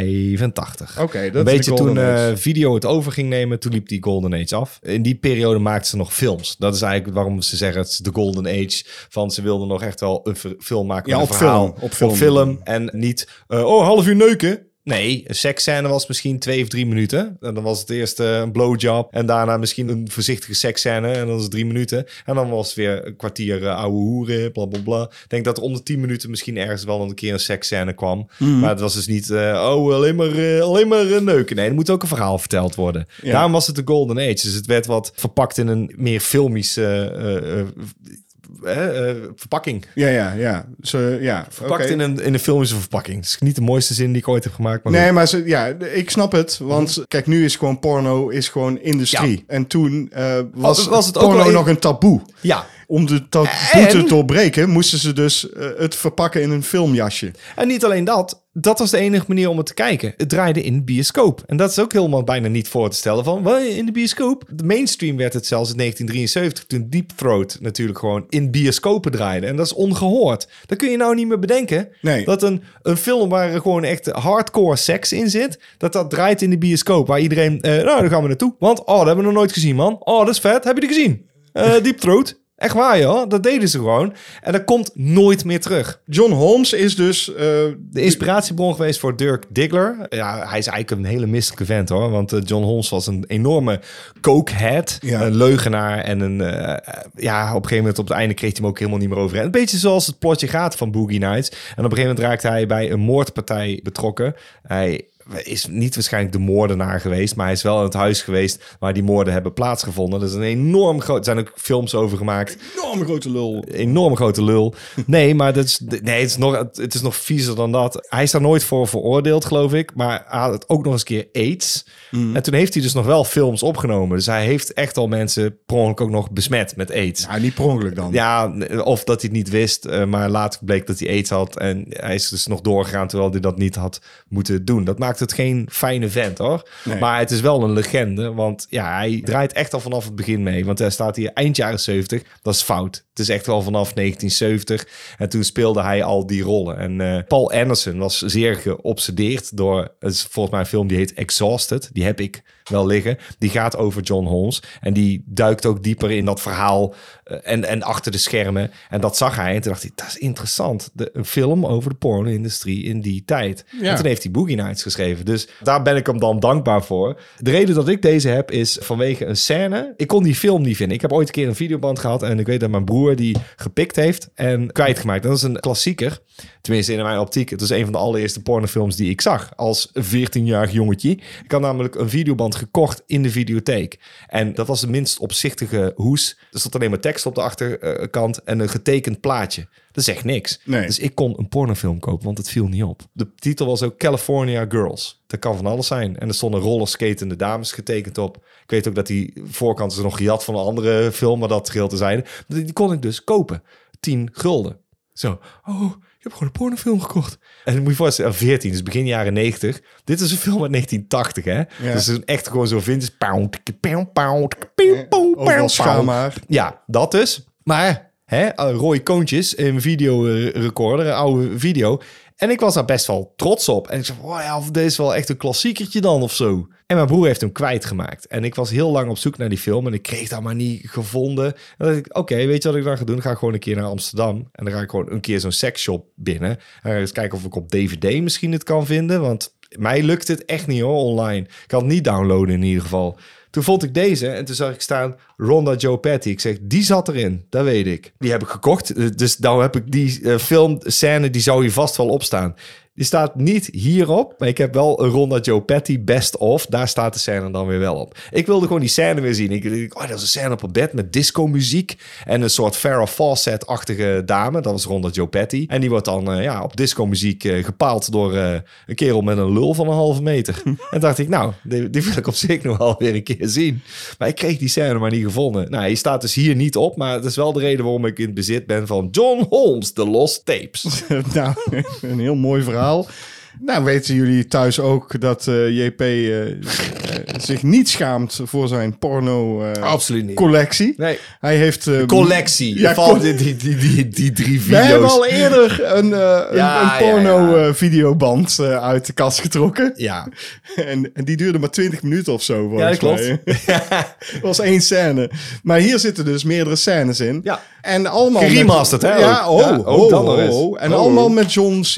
1985.
Oké, dat
Een
is de
beetje
Golden
toen
Age.
eh, video het over ging nemen, toen liep die Golden Age af. In die periode maakten ze nog films. Dat is eigenlijk waarom ze zeggen het is de Golden Age. Van ze wilden nog echt wel een ver- film maken.
Ja,
met een
op
verhaal,
film, op film.
En niet, eh, oh, half uur neuken. Nee, een seksscène was misschien twee of drie minuten. En dan was het eerst eh, een blowjob. En daarna misschien een voorzichtige seksscène. En dan was het drie minuten. En dan was het weer een kwartier eh, ouwe hoeren, bla bla bla. Ik denk dat er om de tien minuten misschien ergens wel een keer een seksscène kwam.
Mhm.
Maar het was dus niet, eh, oh, alleen maar, eh, alleen maar eh, neuken. Nee, er moet ook een verhaal verteld worden.
Ja.
Daarom was het de Golden Age. Dus het werd wat verpakt in een meer filmische eh, eh, eh, eh, verpakking.
Ja, ja, ja. Ze, ja.
Verpakt
oké.
in, een, in een filmische verpakking. Het is niet de mooiste zin die ik ooit heb gemaakt. Maar
Nee, maar ze, ja, ik snap het. Want kijk, nu is gewoon porno is gewoon industrie.
Mhm. Ja. Oh,
En toen eh, was,
was het ook
porno
wel een-
nog een taboe.
Ja,
Om de taboe te
En-
doorbreken, moesten ze dus eh, het verpakken in een filmjasje.
en niet alleen dat. Dat was de enige manier om het te kijken. Het draaide in de bioscoop. En dat is ook helemaal bijna niet voor te stellen van... "Wat, in de bioscoop? De mainstream werd het zelfs in 1973... toen Deep Throat natuurlijk gewoon in bioscopen draaide. En dat is ongehoord. Dat kun je nou niet meer bedenken.
Nee.
Dat een, een film waar er gewoon echt hardcore seks in zit... dat dat draait in de bioscoop. Waar iedereen... eh, nou, daar gaan we naartoe. Want, oh, dat hebben we nog nooit gezien, man. Oh, dat is vet. Heb je die gezien? Eh Deep Throat. Echt waar, joh. Dat deden ze gewoon. En dat komt nooit meer terug.
John Holmes is dus... eh,
De inspiratiebron geweest voor Dirk Diggler. Ja, hij is eigenlijk een hele misselijke vent hoor. Want eh, John Holmes was een enorme cokehead.
Ja.
Een leugenaar. En een, eh, eh, ja, op een gegeven moment op het einde kreeg hij hem ook helemaal niet meer over. En een beetje zoals het plotje gaat van Boogie Nights. En op een gegeven moment raakte hij bij een moordpartij betrokken. Hij is niet waarschijnlijk de moordenaar geweest, maar hij is wel in het huis geweest waar die moorden hebben plaatsgevonden. Dat is een enorm groot. Er zijn ook films over gemaakt
enorme grote lul.
enorm grote lul. Nee, maar dat is, nee, het, is nog, het is nog viezer dan dat. Hij is daar nooit voor veroordeeld, geloof ik. Maar hij had het ook nog eens een keer aids. En toen heeft hij dus nog wel films opgenomen. Dus hij heeft echt al mensen per ongeluk ook nog besmet met aids.
Ja, niet per ongeluk dan.
Ja, of dat hij het niet wist, eh, maar later bleek dat hij aids had. En hij is dus nog doorgegaan terwijl hij dat niet had moeten doen. Dat maakt het geen fijne vent hoor.
Nee.
Maar het is wel een legende, want ja, hij draait echt al vanaf het begin mee. Want hij staat hier eind jaren 70, dat is fout. Het is echt wel vanaf 1970. En toen speelde hij al die rollen. En eh, Paul Anderson was zeer geobsedeerd door, het is volgens mij een film die heet Exhausted. Die heb ik wel liggen. Die gaat over John Holmes. En die duikt ook dieper in dat verhaal eh, en, en achter de schermen. En dat zag hij. En toen dacht hij, dat is interessant. De, een film over de porno-industrie in die tijd.
Ja.
En toen heeft hij Boogie Nights geschreven. Dus daar ben ik hem dan dankbaar voor. De reden dat ik deze heb is vanwege een scène. Ik kon die film niet vinden. Ik heb ooit een keer een videoband gehad. En ik weet dat mijn broer die gepikt heeft en kwijtgemaakt. Dat is een klassieker. Tenminste, in mijn optiek. Het is een van de allereerste pornofilms die ik zag. Als 14-jarig jongetje. Ik had namelijk een videoband gekocht in de videotheek. En dat was de minst opzichtige hoes. Er stond alleen maar tekst op de achterkant en een getekend plaatje. Dat zegt niks.
Nee.
Dus ik kon een pornofilm kopen, want het viel niet op. De titel was ook California Girls. Dat kan van alles zijn. En er stonden rollerskatende dames getekend op. Ik weet ook dat die voorkant is nog gejat van een andere film, maar dat geheel te zijn. Die kon ik dus kopen. 10 gulden. Zo, oh, je hebt gewoon een pornofilm gekocht. En dan moet je voorstellen, 14, dus begin jaren 90. Dit is een film uit 1980, hè?
Ja.
Dus het is echt gewoon zo vintage. Pound, pound, pound, pound, pound,
Overal schuim
pound.
haar.
Ja, dat dus. Maar hè, eh, rode koontjes, een videorecorder, een oude video. En ik was daar best wel trots op. En ik zei, wow, ja, deze is wel echt een klassiekertje dan of zo. En mijn broer heeft hem kwijtgemaakt. En ik was heel lang op zoek naar die film en ik kreeg dat maar niet gevonden. En dan dacht ik, oké, weet je wat ik dan ga doen? Dan ga ik gewoon een keer naar Amsterdam. En dan ga ik gewoon een keer zo'n seksshop binnen. En dan ga ik eens kijken of ik op DVD misschien het kan vinden. Want mij lukt het echt niet hoor, online. Ik kan het niet downloaden in ieder geval. Toen vond ik deze en toen zag ik staan Ronda Joe Patty. Ik zeg, die zat erin, dat weet ik. Die heb ik gekocht, eh, dus nou heb ik die eh, filmscène, die zou hier vast wel op staan. Die staat niet hierop, maar ik heb wel een Ronda Joe Patty best of. Daar staat de scène dan weer wel op. Ik wilde gewoon die scène weer zien. Ik dacht, oh, dat is een scène op een bed met disco-muziek en een soort Farrah Fawcett-achtige dame. Dat was Ronda Joe Patty. En die wordt dan eh, ja, op disco-muziek eh, gepaald door eh, een kerel met een lul van een halve meter. en dacht ik, nou, die, die wil ik op zich nog wel weer een keer zien. Maar ik kreeg die scène maar niet gevonden. Nou, hij staat dus hier niet op, maar dat is wel de reden waarom ik in het bezit ben van John Holmes, The Lost Tapes.
nou, een heel mooi verhaal. Nou, weten jullie thuis ook dat eh, JP eh, eh, zich niet schaamt voor zijn eh,
Absoluut niet.
porno-collectie?
Nee.
Hij heeft... eh,
Collectie.
Ja,
Ja,
col-
die, die, die, die, die drie
Wij hebben
video's.
al eerder een, eh,
Ja,
een,
ja, ja.
porno-videoband eh, uit de kast getrokken.
Ja,
En, en die duurde maar 20 minuten of zo.
e- ja, dat
volgens
klopt.
mij. Het was één scène. Maar hier zitten dus meerdere scènes in.
Ja.
En allemaal...
Geremasterd,
met,
hè,
Ja,
ook.
oh,
Ja,
oh,
ook dan nog
oh,
eens.
oh. En
Oh.
allemaal met John C.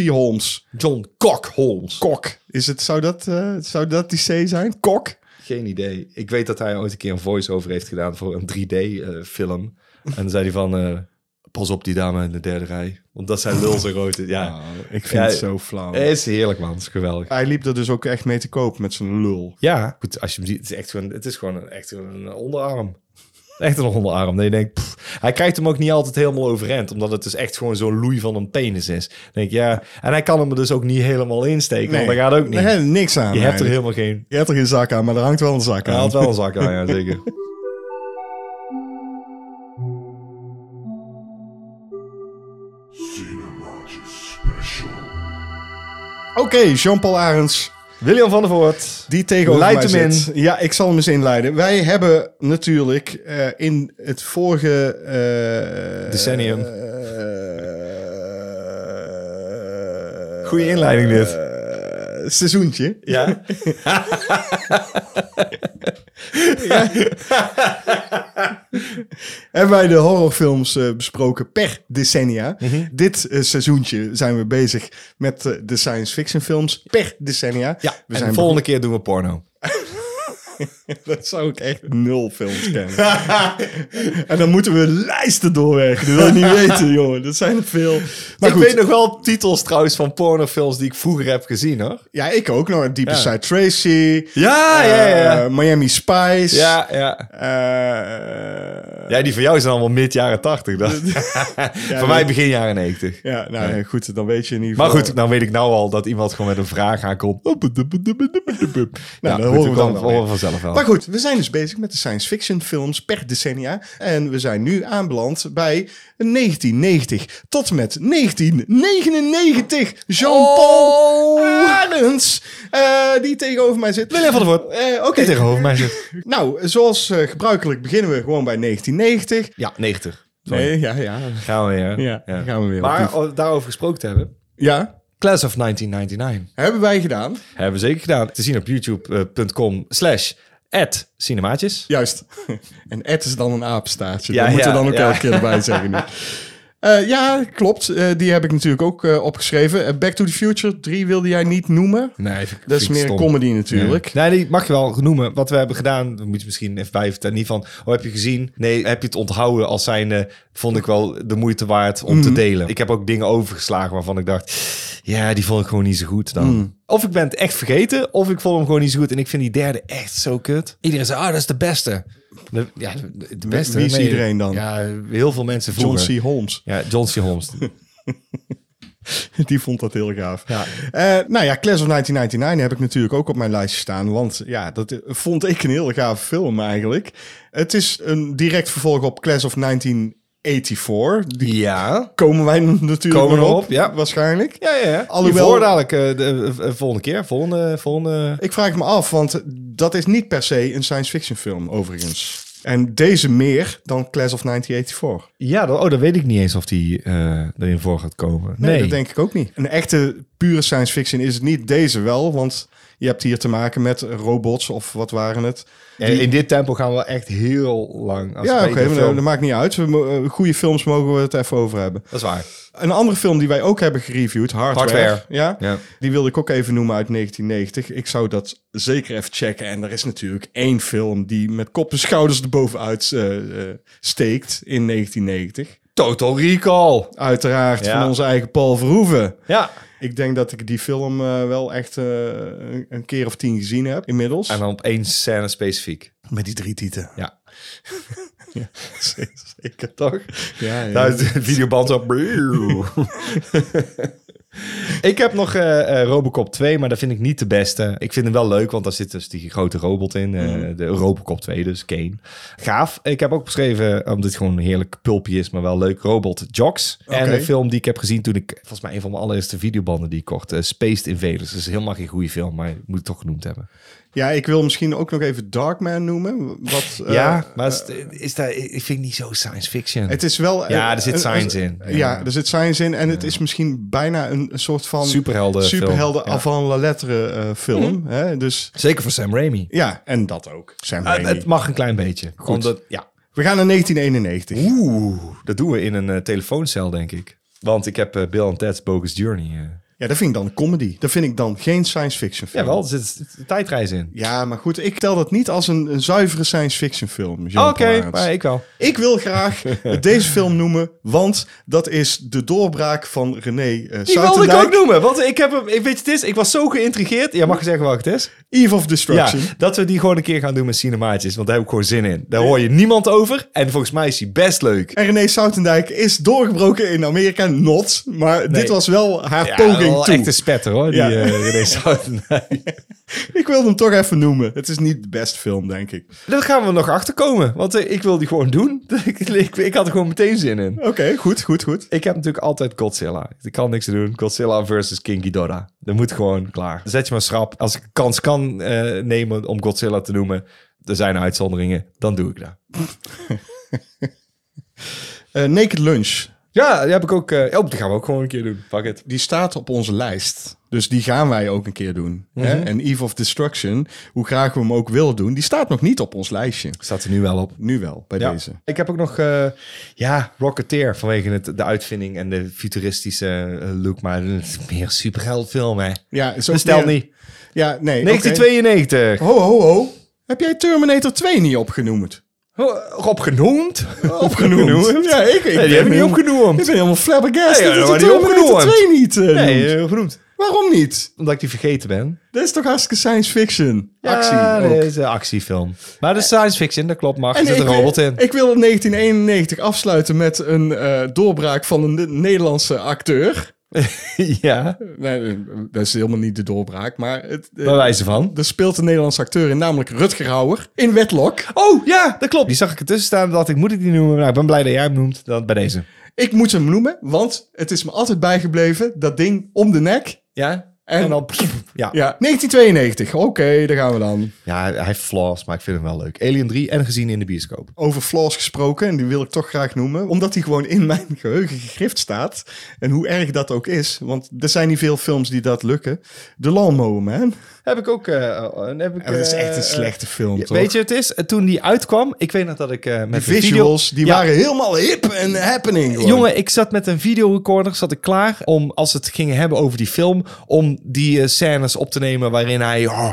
Holmes.
John Cock Holmes.
Kok. Is het, zou, dat, eh, zou dat die C zijn? Kok?
Geen idee. Ik weet dat hij ooit een keer een voice-over heeft gedaan voor een 3D-film. en dan zei hij van, eh, pas op die dame in de derde rij. Want dat zijn lul zo rood is. Ja,
Oh, ik vind
Ja, eh,
het zo flauw.
het is heerlijk man. Het is geweldig.
Hij liep er dus ook echt mee te koop met zijn lul.
Ja, goed, als je hem ziet, het is echt gewoon, het is gewoon een, echt een onderarm. Echt een onderarm. Dat je denkt, pff, hij krijgt hem ook niet altijd helemaal overeind, omdat het dus echt gewoon zo'n loei van een penis is. Dan denk ik, ja, en hij kan hem er dus ook niet helemaal insteken, want dat gaat ook niet.
Nee, niks aan.
je hebt er
eigenlijk.
helemaal geen.
je hebt er geen zak aan, maar er hangt wel een zak
Hij
aan.
had wel een zak aan, ja, zeker.
Oké, Jean-Paul Arends.
William van der Voort.
Die tegenover
Leid
mij
hem
zit. Ja, ik zal hem eens inleiden. Wij hebben natuurlijk eh, in het vorige... eh,
Decennium.
eh,
Goeie inleiding dit.
eh, seizoentje.
Ja.
Hebben wij de horrorfilms eh, besproken per decennia.
Mhm.
Dit eh, seizoentje zijn we bezig met eh, de science fiction films per decennia.
ja.
we
en
zijn
de volgende keer doen we porno.
Dat zou ik echt nul films kennen. en dan moeten we lijsten doorwerken. Dat wil je niet weten, jongen. Dat zijn er veel. Maar
ik
goed,
weet nog wel titels trouwens van pornofilms die ik vroeger heb gezien, hoor.
ja, ik ook nog. Deepest
Ja.
Side Tracy.
Ja, ja, ja.
eh, Miami Spice.
Ja, ja.
eh,
Ja, die van jou zijn allemaal mid jaren 80. Dat...
dat-
van mij begin jaren 90.
ja, nou ja, goed, dan weet je in ieder
Maar
geval.
goed, dan weet ik nou al dat iemand gewoon met een vraag aankomt. Nou,
Nou,
dat
dat horen we dan wel
horen
weer.
we vanzelf wel.
Maar goed, we zijn dus bezig met de science fiction films per decennia. En we zijn nu aanbeland bij 1990 tot en met 1999. Jean-Paul Arends, eh, die tegenover mij zit.
William Oh. van der Voort.
Eh, Oké,
Oké, tegenover mij zit.
nou, zoals eh, gebruikelijk beginnen we gewoon bij 1990.
Ja, 90. Sorry.
Nee, ja, ja.
Gaan we weer.
Ja, gaan we weer
Maar
opnieuw.
o- daarover gesproken te hebben.
Ja,
Class of 1999.
hebben wij gedaan.
Hebben we zeker gedaan. Te zien op youtube.com slash at cinemaatjes.
Juist. En Ed is dan een apenstaartje.
Ja,
dat moeten we
ja,
dan ook
ja.
elke keer erbij zeggen. nu. Eh, ja, klopt. Eh, die heb ik natuurlijk ook eh, opgeschreven. Eh, Back to the Future 3 wilde jij niet noemen.
Nee, vind ik-
Dat
vind
is
ik
meer een
stom.
comedy natuurlijk.
Nee, die mag je wel noemen. Wat we hebben gedaan, dan moet je misschien even bij vertellen. Niet van, oh, heb je gezien? Nee, heb je het onthouden als zijnde, vond ik wel de moeite waard om
Mhm.
te delen. Ik heb ook dingen overgeslagen waarvan ik dacht, ja, die vond ik gewoon niet zo goed dan.
Mhm.
Of ik ben het echt vergeten, of ik vond hem gewoon niet zo goed. En ik vind die derde echt zo kut. Iedereen zei, ah, dat is de beste. De- ja, de- de beste.
wie is
Nee,
iedereen dan?
Ja, heel veel mensen
John
vroeger.
C. Holmes.
Ja, John C. Holmes.
Die vond dat heel gaaf.
Ja.
Eh, nou ja, Class of 1999 heb ik natuurlijk ook op mijn lijstje staan. Want ja, dat eh, vond ik een heel gaaf film eigenlijk. Het is een direct vervolg op Class of 1984. Die
Ja.
komen wij natuurlijk
Komen
nog
we
op,
op, ja.
waarschijnlijk.
Ja, ja, ja.
Alhoewel-
Hiervoor dadelijk eh, de eh, volgende keer. Volgende, volgende...
Ik vraag het me af, want dat is niet per se een science fiction film overigens. En deze meer dan Class of 1984.
Ja, dan, oh, dan weet ik niet eens of die eh, erin voor gaat komen.
Nee,
Nee,
dat denk ik ook niet. Een echte pure science fiction is het niet. Deze wel, want je hebt hier te maken met robots of wat waren het.
Eh, In dit tempo gaan we wel echt heel lang. Als
ja,
we
oké,
iedere
maar
film-
dat, dat maakt niet uit. We, mo- eh, goede films mogen we het even over hebben.
Dat is waar.
Een andere film die wij ook hebben gereviewd, Hardware.
Hardware.
Ja?
Ja.
Die wilde ik ook even noemen uit 1990. Ik zou dat zeker even checken. En er is natuurlijk één film die met kop en schouders erbovenuit eh, eh, steekt in 1990.
Total Recall.
Uiteraard
Ja.
van onze eigen Paul Verhoeven.
Ja.
Ik denk dat ik die film eh, wel echt eh, een- een keer of tien gezien heb inmiddels.
En dan op één scène specifiek.
met die drie tieten.
Ja.
Ja, zeker.
Toch?
Ja, ja.
Nou, de videoband op. ik heb nog eh, eh, Robocop 2, maar dat vind ik niet de beste. Ik vind hem wel leuk, want daar zit dus die grote robot in. eh,
Mhm.
De Robocop 2, dus Kane. Gaaf. Ik heb ook beschreven, omdat het gewoon een heerlijk pulpje is, maar wel leuk, Robot Jocks. En
Oké.
een film die ik heb gezien toen ik, volgens mij een van mijn allereerste videobanden die ik kocht, eh, Spaced Invaders. Dat is helemaal geen goede film, maar ik moet het toch genoemd hebben.
ja, ik wil misschien ook nog even Darkman noemen. Wat, eh,
ja, maar is, is dat, ik vind het niet zo science fiction.
Het is wel...
Ja, er zit
eh,
science
eh,
in.
Ja. er zit science in. En het is misschien bijna een, een soort van...
Superhelden film.
Superhelden
Ja.
avant la lettre eh, film.
Mhm.
Hè? Dus
Zeker voor Sam Raimi.
ja, en dat ook. Sam
Eh,
Raimi.
het mag een klein beetje. Goed. Omdat, ja.
We gaan naar 1991.
Oeh, dat doen we in een eh, telefooncel, denk ik. Want ik heb eh, Bill en Ted's Bogus Journey. eh.
Ja, dat vind ik dan een comedy. Dat vind ik dan geen science fiction film.
Jawel, er zit een tijdreis in.
Ja, maar goed, ik tel dat niet als een, een zuivere science fiction film. Jean
Ah, Oké,
Palaerts.
maar ik wel.
Ik wil graag deze film noemen, want dat is de doorbraak van René eh
Die wilde ik ook
Soutendijk.
noemen, want ik heb hem, ik weet je, het is, ik was zo geïntrigeerd. Jij mag zeggen welke het is.
Eve of
Ja,
Destruction.
dat we die gewoon een keer gaan doen met cinemaatjes, want daar heb ik gewoon zin in. Daar hoor je niemand over en volgens mij is die best leuk.
En René Soutendijk E is doorgebroken in Amerika. Not. Maar dit was wel haar
Ja,
poging
wel
toe.
echt een spetter hoor, die
Ja.
eh René Soutendijk.
Ik wilde hem toch even noemen. Het is niet de beste film, denk ik.
Daar gaan we nog achterkomen, want eh, ik wil die gewoon doen. ik, ik, ik had er gewoon meteen zin in.
Oké, goed, goed, goed.
Ik heb natuurlijk altijd Godzilla. Ik kan niks te doen. Godzilla versus King Ghidorah. Dat moet gewoon klaar. Zet je maar schrap. Als ik kans kan eh, nemen om Godzilla te noemen, er zijn uitzonderingen, dan doe ik dat.
Eh, Naked Lunch.
Ja, die heb ik ook. eh, oh, die gaan we ook gewoon een keer doen. Fuck it.
Die staat op onze lijst. Dus die gaan wij ook een keer doen.
Mhm.
hè? En Eve of Destruction, hoe graag we hem ook willen doen, die staat nog niet op ons lijstje.
Staat er nu wel op.
Nu wel, bij
Ja.
deze.
Ik heb ook nog eh, ja, Rocketeer vanwege het, de uitvinding en de futuristische eh, look. Maar het is meer een superheldfilm, hè?
Ja, is ook
Bestel
meer-
niet.
Ja, nee.
1992.
oké. Ho, ho, ho. Heb jij Terminator 2 niet opgenoemd?
Oh, Opgenoemd?
Ja, ik, ik
Nee, die heb ik niet
Ik
opgenoemd.
ben helemaal flabbergasted
Nee,
dat
maar
je
die
Terminator
opgenoemd.
2 niet eh, noemt.
Nee, eh, opgenoemd.
Waarom niet?
Omdat ik die vergeten ben.
Dat is toch hartstikke science fiction? Actie
Ja,
ook.
dat is een actiefilm. Maar de science fiction, dat klopt, maar er
En
zit
ik
een robot
wil-
in.
Ik wil 1991 afsluiten met een eh, doorbraak van een Ne- Nederlandse acteur. Eh,
ja,
Nee, dat is helemaal niet de doorbraak, maar het, eh,
bij wijze van.
er speelt een Nederlandse acteur in, namelijk Rutger Hauer in Wedlock.
Oh, ja, dat klopt. Die zag ik ertussen staan en dacht ik, moet ik die noemen? Nou, ik ben blij dat jij hem noemt. Dan bij deze.
Ik moet hem noemen, want het is me altijd bijgebleven, dat ding om de nek.
Ja?
En-
En, dan... Ja.
Ja, 1992. Oké, daar gaan we dan.
ja, hij heeft flaws, maar ik vind hem wel leuk. Alien 3 en gezien in de bioscoop.
Over flaws gesproken, en die wil ik toch graag noemen, omdat die gewoon in mijn geheugen gegrift staat. En hoe erg dat ook is, want er zijn niet veel films die dat lukken. The Lawnmower Man.
Heb ik ook... eh, eh, heb ik,
Ja, dat is
eh,
echt een
eh,
slechte film,
ja,
toch?
Weet je, het is eh, toen die uitkwam. Ik weet nog dat ik eh,
de
met een video-
visuals, die
Ja.
waren helemaal hip en happening. gewoon.
Jongen, ik zat met een videorecorder, zat ik klaar om, als het ging hebben over die film, om die eh, scènes op te nemen waarin hij... oh,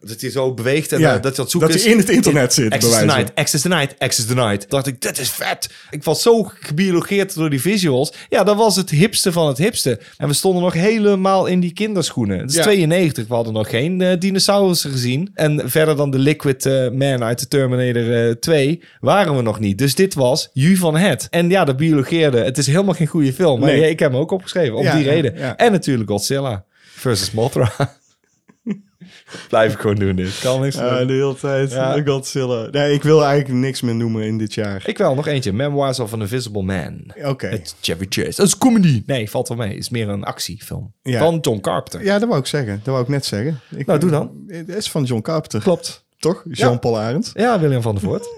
dat hij zo beweegt en eh, dat je dat zoekt
dat hij in het internet zit, bij
Access the
wijze van.
night, access the night, access the night. Dacht ik, dit is vet. Ik was zo gebiologeerd door die visuals. Ja, dat was het hipste van het hipste. En we stonden nog helemaal in die kinderschoenen. Het is
Ja.
92, we hadden nog geen eh, dinosaurussen gezien. En verder dan de Liquid eh, Man uit de Terminator eh, 2 waren we nog niet. Dus dit was Ju van het. En ja, dat biologeerde. Het is helemaal geen goede film. Maar
Nee.
ik heb hem ook opgeschreven, om
Ja,
die
ja,
reden.
ja.
En natuurlijk Godzilla versus Mothra. Blijf ik gewoon doen dit. Kan niks.
Ja,
doen.
de hele tijd.
Ja.
Godzilla. Nee, ik wil eigenlijk niks meer noemen in dit jaar.
Ik wel, nog eentje. Memoirs of an Invisible Man.
Oké.
Het Chevy Chase. Dat is comedy. Nee, valt wel mee. Is meer een actiefilm.
Ja.
Van John Carpenter.
Ja, dat wou ik zeggen. Dat wou ik net zeggen. Ik-
Nou, doe dan.
Het is van John Carpenter.
Klopt.
Toch? Jean-Paul Arendt.
Ja, William van der Voort.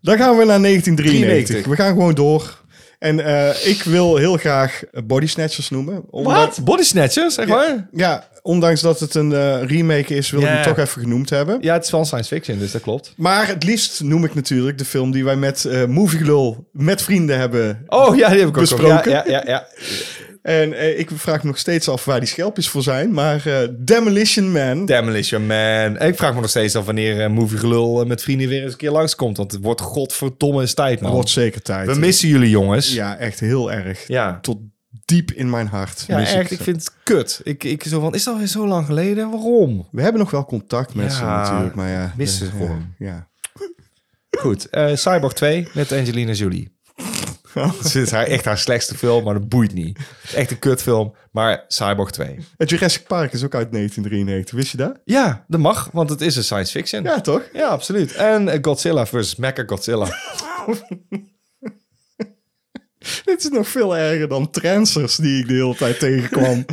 Dan gaan we naar 1993.
93.
We gaan gewoon door. En eh, ik wil heel graag Body Snatchers noemen. Ondanks-
Wat? Body Snatchers, zeg maar?
Ja, ondanks dat het een eh, remake is, wil ik
Ja.
hem toch even genoemd hebben.
Ja, het is wel science fiction, dus dat klopt.
Maar het liefst noem ik natuurlijk de film die wij met eh Movie Lul, met vrienden hebben.
Oh ja, die heb ik ook
Besproken.
Ja, ja, ja, ja.
En eh, ik vraag me nog steeds af waar die schelpjes voor zijn. Maar eh, Demolition Man.
Demolition Man. Ik vraag me nog steeds af wanneer eh, Movie Gelul eh, met vrienden weer eens een keer langskomt. Want het wordt godverdomme eens tijd, man.
Wordt zeker tijd.
We missen jullie, jongens.
Ja, echt heel erg.
ja.
Tot diep in mijn hart.
Ja,
mis ik
echt.
ze.
Ik vind het kut. Ik, ik zo van, is dat weer zo lang geleden? Waarom?
We hebben nog wel contact met
Ja,
ze natuurlijk, maar ja.
missen ze
ja,
gewoon.
Ja.
Goed, eh, Cyborg 2 met Angelina Jolie. Het is haar, echt haar slechtste film, maar dat boeit niet. Het is Echt een kutfilm, maar Cyborg 2.
Het Jurassic Park is ook uit 1993, wist je dat?
Ja, dat mag, want het is een science fiction.
Ja, toch?
Ja, absoluut. En eh, Godzilla versus Mecha Godzilla.
Dit is nog veel erger dan transers die ik de hele tijd tegenkwam.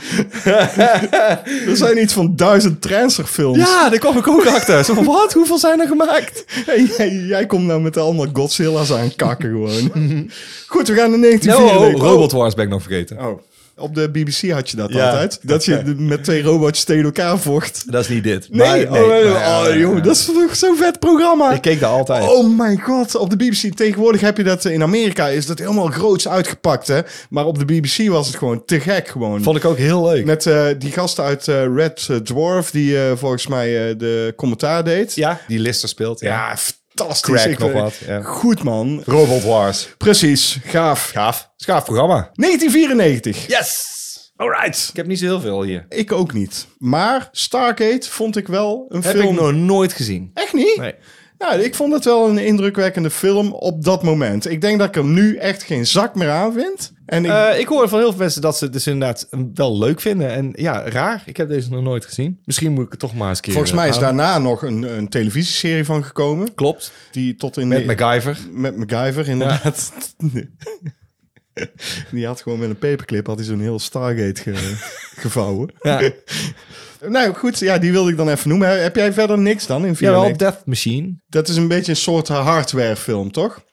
er zijn iets van duizend transerfilms.
Ja, daar kwam ik ook achter. Zo van, wat? Hoeveel zijn er gemaakt?
Hey, jij, jij komt nou met de andere Godzilla's aan kakken gewoon.
Mhm.
Goed, we gaan naar 1994.
Oh, oh,
Oh.
Robot Wars ben ik nog vergeten.
Oh. Op de BBC had je dat
Ja.
altijd. Dat je de- met twee robots tegen elkaar vocht.
Dat is niet dit.
Nee,
Maar-
oh, oh,
maar-
oh, joh, dat is toch zo'n vet programma.
Ik keek daar altijd.
Oh my god, op de BBC. Tegenwoordig heb je dat eh, in Amerika, is dat helemaal groots uitgepakt, hè. Maar op de BBC was het gewoon te gek, gewoon.
Vond ik ook heel leuk.
Met eh, die gasten uit eh, Red Dwarf, die eh, volgens mij eh, de commentaar deed.
Ja, die Lister speelt. Ja.
Ja, fantastisch.
Crack
Ik
nog
ben-
wat, ja.
Goed, man.
Robot Wars.
Precies, gaaf.
Gaaf. Schaaf programma.
1994.
Yes! Alright. Ik heb niet zo heel veel hier.
Ik ook niet. Maar Stargate vond ik wel een
Heb
film...
ik nog nooit gezien.
Echt niet?
Nee.
Nou, ik vond het wel een indrukwekkende film op dat moment. Ik denk dat ik hem nu echt geen zak meer aan vind. En ik,
Eh, ik hoor van heel veel mensen dat ze het dus inderdaad wel leuk vinden. En ja, raar. Ik heb deze nog nooit gezien. Misschien moet ik het toch maar eens een keer...
volgens mij is
daar
daarna nog een, een televisieserie van gekomen.
Klopt.
Die tot in
Met
de-
MacGyver.
met MacGyver, inderdaad. Die had gewoon met een paperclip had hij zo'n heel Stargate ge- gevouwen.
Ja.
Nou goed, ja, die wilde ik dan even noemen. Heb jij verder niks dan in 94?
Jawel, Death Machine.
Dat is een beetje een soort hardwarefilm, toch?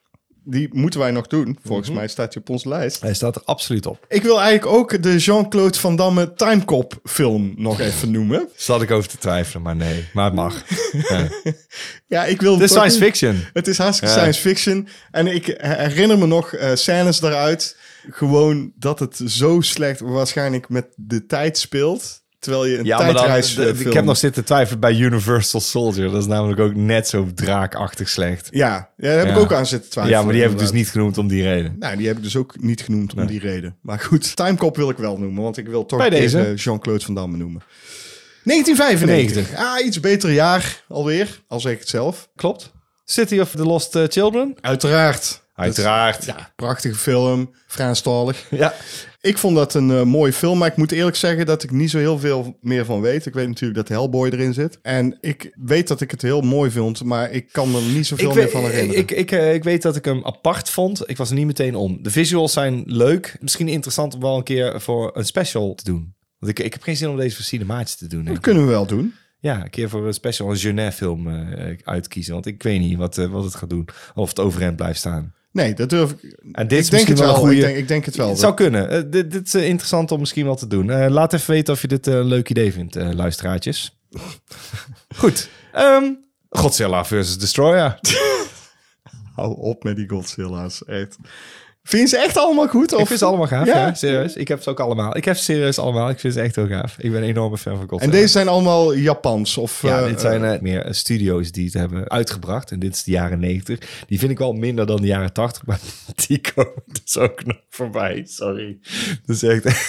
Die moeten wij nog doen. Volgens
Mhm.
mij staat die op onze lijst.
Hij staat er absoluut op.
Ik wil eigenlijk ook de Jean-Claude Van Damme Timecop film nog even noemen.
Zat ik over te twijfelen, maar nee. Maar het mag.
Ja, ik wil
Het is
toch
science
niet-
fiction.
Het is hartstikke
Ja.
science fiction. En ik herinner me nog eh, scènes daaruit. Gewoon dat het zo slecht waarschijnlijk met de tijd speelt. Terwijl je een
Ja, maar dan,
tijdreis eh,
d- ik
film-
heb nog zitten twijfelen bij Universal Soldier. Dat is namelijk ook net zo draakachtig slecht.
Ja, ja, daar heb
Ja.
ik ook aan zitten twijfelen.
Ja, maar die heb ik dus
inderdaad.
niet genoemd om die reden.
Nou, die heb ik dus ook niet genoemd om die reden. Maar goed, Timecop wil ik wel noemen, want ik wil toch
Bij deze.
even Jean-Claude Van Damme noemen. 1995. Ah, iets beter jaar alweer, al zeg ik het zelf.
Klopt. City of the Lost eh, Children.
Uiteraard.
Uiteraard.
Dat is- ja, prachtige film, Franstalig.
Ja.
Ik vond dat een eh, mooie film, maar ik moet eerlijk zeggen dat ik niet zo heel veel meer van weet. Ik weet natuurlijk dat Hellboy erin zit. En ik weet dat ik het heel mooi vond, maar ik kan er niet zoveel meer
weet-
van herinneren.
Ik, ik, eh, ik weet dat ik hem apart vond. Ik was er niet meteen om. De visuals zijn leuk. Misschien interessant om wel een keer voor een special te doen. Want ik, ik heb geen zin om deze voor cinemaatjes te doen. denk
dat
ik.
kunnen we wel doen.
Ja, een keer voor een special een Genet film eh, uitkiezen. Want ik weet niet wat, eh, wat het gaat doen. Of het overeind blijft staan.
Nee, dat durf ik.
En dit is
ik denk
misschien
het
wel
wel.
een goeie-
Ik, denk, ik denk het wel.
Het zou kunnen. Eh, dit, dit is eh, interessant om misschien wel te doen. Eh, laat even weten of je dit eh, een leuk idee vindt, eh, luisteraartjes. Goed. Ehm, Godzilla versus Destroyer.
Hou op met die Godzilla's, echt. Vind je ze echt allemaal goed? Of?
Ik vind ze allemaal gaaf,
Ja?
ja. serieus. Ik heb ze ook allemaal. Ik heb ze serieus allemaal. Ik vind ze echt heel gaaf. Ik ben een enorme fan van
En
Godzilla.
deze zijn allemaal Japans? Of,
Ja,
eh,
dit zijn eh, meer eh, studio's die het hebben uitgebracht. En dit is de jaren 90. Die vind ik wel minder dan de jaren 80. Maar die komen dus ook nog voorbij. Sorry. Dat is echt...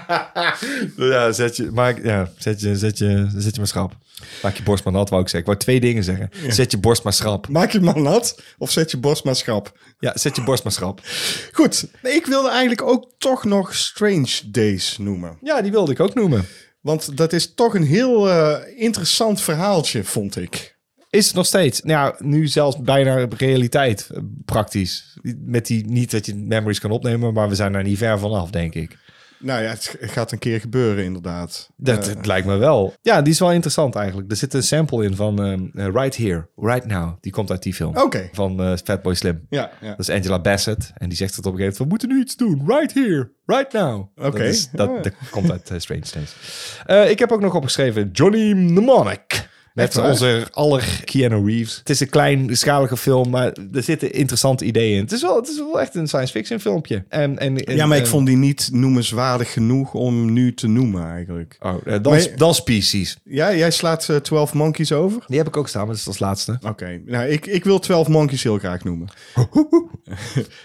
ja, zet je, maak, ja zet, je, zet, je, zet je maar schrap. Maak je borst maar nat, wou ik zeggen. Ik wou twee dingen zeggen. Zet je borst maar schrap.
Maak je maar nat of zet je borst maar schrap.
Ja, zet je borst maar schrap.
Goed, nee, ik wilde eigenlijk ook toch nog Strange Days noemen.
Ja, die wilde ik ook noemen.
Want dat is toch een heel eh, interessant verhaaltje, vond ik.
Is het nog steeds. Nou, ja, nu zelfs bijna realiteit eh, praktisch. Met die, niet dat je memories kan opnemen, maar we zijn daar niet ver vanaf, denk ik.
Nou ja, het g- gaat een keer gebeuren inderdaad.
Dat,
Eh,
dat lijkt me wel. Ja, die is wel interessant eigenlijk. Er zit een sample in van ehm, eh, Right Here, Right Now. Die komt uit die film.
Oké.
Van eh, Fatboy Slim.
ja, ja.
Dat is Angela Bassett. En die zegt het op een gegeven moment. We moeten nu iets doen. Right here. Right now.
Oké. Ah.
Dat, is- dat, dat komt uit eh, Strange Things. Eh, ik heb ook nog opgeschreven Johnny Mnemonic. Met
Echt waar?
onze aller Keanu Reeves. Het is een kleinschalige film, maar er zitten interessante ideeën in. Het is wel, het is wel echt een science fiction filmpje. En, en, en- eh,
ja, maar ik
en-
vond die niet noemenswaardig genoeg om nu te noemen eigenlijk.
Oh, eh, dan,
Maar-
dan Species.
Ja, jij slaat eh, 12 Monkeys over?
Die heb ik ook staan, maar dat is als laatste.
Oké, nou ik, ik wil 12 Monkeys heel graag noemen.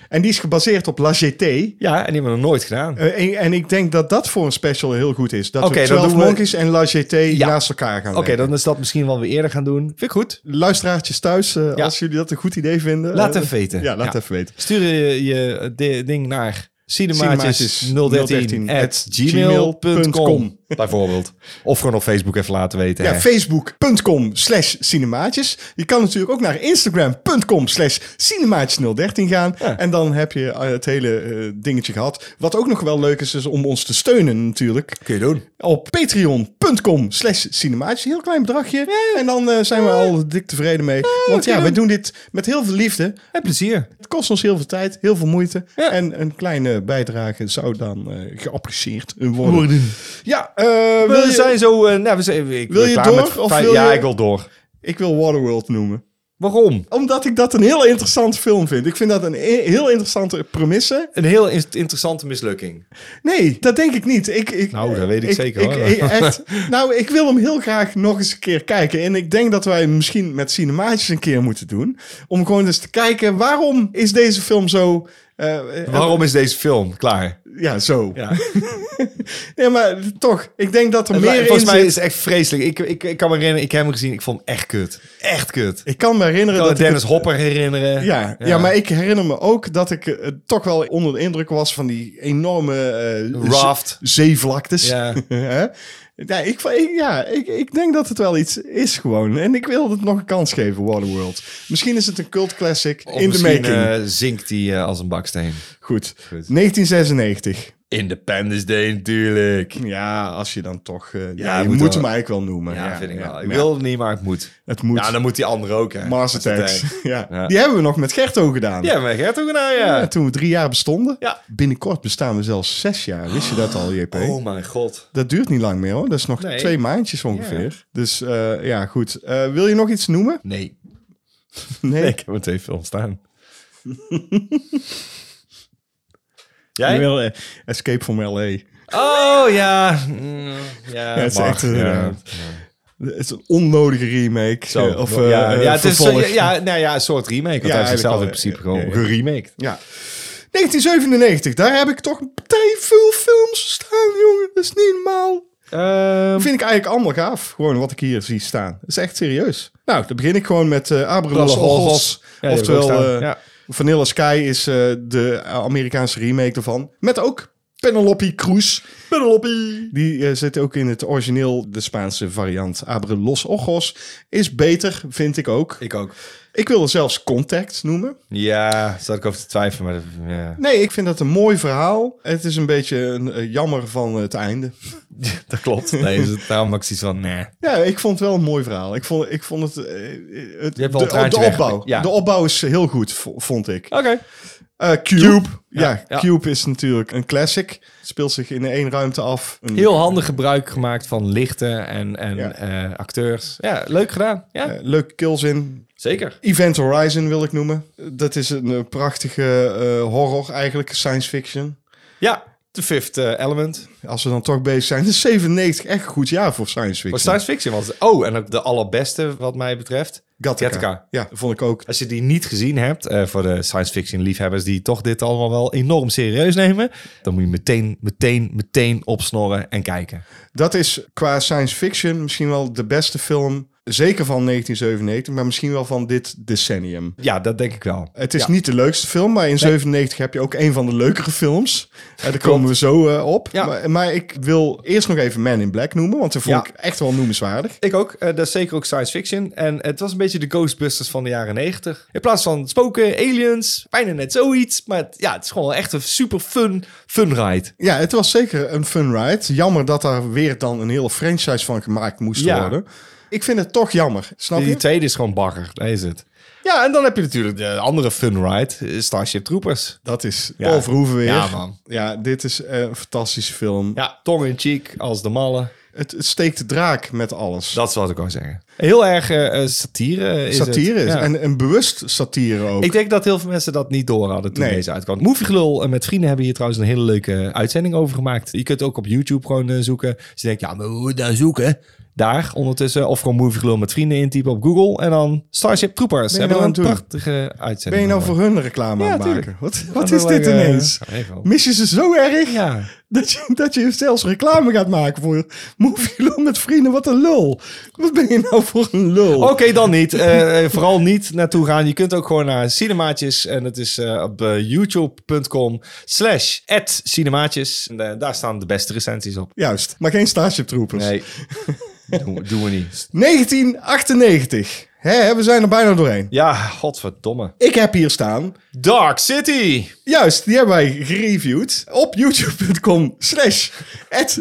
en die is gebaseerd op La Jetée.
Ja, en die hebben we nog nooit gedaan.
Eh, en, en ik denk dat dat voor een special heel goed is. Dat
Oké, dan
we 12
doen we-
Monkeys en La Jetée
Ja.
naast elkaar gaan
Oké, dan is dat misschien wel weer eerder gaan doen. Vind ik goed.
Luisteraartjes thuis, eh,
Ja.
als jullie dat een goed idee vinden.
Laat
eh,
even weten.
Ja, laat
Ja.
even weten.
Stuur je, je di- ding naar cinemaatjes 013 at gmail.com
gmail.com.
bijvoorbeeld. Of gewoon op Facebook even laten weten.
Ja,
hè.
facebook.com slash cinemaatjes. Je kan natuurlijk ook naar instagram.com slash cinemaatjes013 gaan.
Ja.
En dan heb je eh, het hele eh, dingetje gehad. Wat ook nog wel leuk is, is om ons te steunen natuurlijk.
Kun je doen.
Op patreon.com slash cinemaatjes. Een heel klein bedragje. En dan eh, zijn we al dik tevreden mee. Want
kun je
ja, wij
doen.
doen dit met heel veel liefde.
En plezier.
Het kost ons heel veel tijd, heel veel moeite.
Ja.
En een kleine bijdrage zou dan eh, geapprecieerd worden. Ja, eh, wil
We
je,
zijn zo... eh, nou, we zijn, ik
Wil
ben
je
klaar
door,
met
of
vijf-
wil
ja,
je-
ik wil door.
ik wil Waterworld noemen.
Waarom?
Omdat ik dat een heel interessant film vind. Ik vind dat een e- heel interessante premisse.
Een heel in- interessante mislukking.
Nee, dat denk ik niet. Ik, ik,
Nou, dat weet ik zeker, hoor.
ik- echt, nou, ik wil hem heel graag nog eens een keer kijken. En ik denk dat wij hem misschien met cinemaatjes een keer moeten doen. Om gewoon eens te kijken, waarom is deze film zo... eh, eh,
Waarom is deze film klaar?
Ja, zo.
Ja.
Nee, maar toch, ik denk dat er meer in
Volgens mij
zit.
is het echt vreselijk. Ik, ik, ik kan me herinneren, ik heb hem gezien. Ik vond hem echt kut. Echt kut.
Ik kan me herinneren
Ik kan
dat
me Dennis
ik... het-
Hopper herinneren.
Ja, ja. maar ik herinner me ook dat ik eh, toch wel onder de indruk was van die enorme eh,
Raft.
ze- zeevlaktes.
Ja.
Hè? ja, ik, ik- ja ik, ik denk dat het wel iets is gewoon. En ik wil het nog een kans geven, Waterworld. Misschien is het een cult classic
Of
in de
misschien,
making.
eh, zinkt die eh, als een baksteen.
Goed. 1996.
Independence Day natuurlijk. Ja,
Ja, als je dan toch... eh, ja,
je
je
moet
moet,
wel-
hem eigenlijk wel noemen. Ja,
vind ik
ja,
wel. Ik
ja.
wil het niet, maar het moet.
Het moet.
Ja, dan moet die andere ook. Hè.
Mars Attacks. Ja. Die hebben we nog met Gerto gedaan.
Ja, maar Gert ook nou, ja.
Ja, toen we drie jaar bestonden.
Ja.
Binnenkort bestaan we zelfs zes jaar. Wist je dat al, JP?
Oh mijn god.
Dat duurt niet lang meer hoor. Dat is nog
Nee.
twee maandjes ongeveer. Dus eh, ja, goed. Eh, wil je nog iets noemen?
Nee.
Nee.
Ik heb er twee films staan. Jij?
Ik wil, eh, Escape from L.A.
Oh ja. Mm, ja,
het is
mag,
echt, eh,
ja.
ja. Het is een onnodige remake.
Zo,
eh, of,
ja,
eh,
ja,
eh,
het is,
vervolg.
eh, ja, nou ja, een soort remake. Want hij
Ja,
heeft zichzelf in
eigenlijk
principe
wel,
gewoon
ja, ja,
geremaked.
Ja. 1997, daar heb ik toch een partij veel films staan, jongen. Dat is niet normaal.
Ehm,
Dat vind ik eigenlijk allemaal gaaf. Gewoon wat ik hier zie staan. Dat is echt serieus. Nou, dan begin ik gewoon met eh Abramus
Pralle Holgos.
Holgos.
Ja, die heb ik ook
oftewel,
staan.
eh,
Ja.
Vanilla Sky is eh, de Amerikaanse remake ervan. Met ook Penelope Cruz. Penelope! Die eh, zit ook in het origineel, de Spaanse variant. Abralos Ojos is beter, vind ik ook.
ik ook.
Ik wil er zelfs Contact noemen.
Ja, zat ik over te twijfelen, maar dat- ja.
Nee, ik vind dat een mooi verhaal. Het is een beetje een eh, jammer van het einde.
dat klopt. Nee, is het, daarom had ik zoiets van, nee.
Ja, ik vond het wel een mooi verhaal. Ik vond, ik vond het... eh, het
hebt wel een
de,
traantje
de opbouw.
weggepikt, ja.
De opbouw is heel goed, vo- vond ik.
Oké.
Eh, Cube. Ja,
Ja, ja.
Cube is natuurlijk een classic. Het speelt zich in één ruimte af. Een,
Heel handig gebruik gemaakt van lichten en, en
Ja.
eh, acteurs. Ja, leuk gedaan. Ja,
eh, leuke kills in.
zeker.
Event Horizon wil ik noemen. Dat is een eh, prachtige eh, horror eigenlijk, science fiction.
Ja, The Fifth eh, Element.
Als we dan toch bezig zijn, is 97 echt een goed jaar voor science fiction.
Maar science fiction was het. Oh, en ook de allerbeste wat mij betreft.
Gattaca.
Gattaca.
Ja, vond ik ook.
Als je die niet gezien hebt, eh, voor de science fiction liefhebbers die toch dit allemaal wel enorm serieus nemen, dan moet je meteen, meteen, meteen opsnorren en kijken.
Dat is qua science fiction misschien wel de beste film. Zeker van 1997, maar misschien wel van dit decennium.
Ja, dat denk ik wel.
Het is
Ja.
niet de leukste film, maar in 97 heb je ook een van de leukere films. En daar komen we zo eh, op.
Ja.
Maar, maar ik wil eerst nog even Man in Black noemen, want dat vond
Ja.
ik echt wel noemenswaardig.
Ik ook. eh, dat is zeker ook science fiction. En het was een beetje de Ghostbusters van de jaren 90. In plaats van spoken, aliens, bijna net zoiets. Maar het- ja, het is gewoon echt een super fun, fun ride.
Ja, het was zeker een fun ride. Jammer dat daar weer dan een hele franchise van gemaakt moest
Ja.
worden. Ik vind het toch jammer, snap
Die
je?
tweede is gewoon bagger, daar is het. Ja, en dan heb je natuurlijk de andere fun ride, eh, Starship Troopers.
Dat is
Ja.
Paul Verhoeven weer.
Ja, man.
Ja, dit is eh, een fantastische film.
Ja, tong in cheek als de malle.
Het, het steekt de draak met alles.
Dat is wat ik wou zeggen. Heel erg eh, eh, satire is
satire
het.
is.
Ja.
En een bewust satire ook.
Ik denk dat heel veel mensen dat niet door hadden toen
Nee.
deze uitkwam. Movie Gelul eh, met vrienden hebben hier trouwens een hele leuke eh, uitzending over gemaakt. Je kunt ook op YouTube gewoon eh, zoeken. Dus je denkt, ja, maar hoe moet ik nou zoeken? Daar ondertussen. Of gewoon Movie Gelul met vrienden intypen op Google. En dan Starship Troopers.
Ben je
hebben
nou
een
aan het doen?
prachtige uitzending.
ben je nou
over.
voor hun reclame
Ja,
aan het maken?
tuurlijk.
Wat,
Ja,
wat
dat
is
wil
dit
ik, eh,
ineens?
ja, even wel.
Mis je ze zo erg
Ja.
dat, je, dat je zelfs reclame gaat maken voor Movie Lul met vrienden? Wat een lul. Wat ben je nou voor een lul?
Oké, dan niet. Eh, eh, vooral niet naartoe gaan. Je kunt ook gewoon naar Cinemaatjes. En dat is eh, op eh, youtube.com slash Cinemaatjes. En eh, daar staan de beste recensies op.
Juist, maar geen Starship Troopers.
Nee, doen, doen we niet.
1998. Hè, we zijn er bijna doorheen.
Ja, godverdomme.
Ik heb hier staan.
Dark City.
Juist, die hebben wij gereviewd op youtube.com slash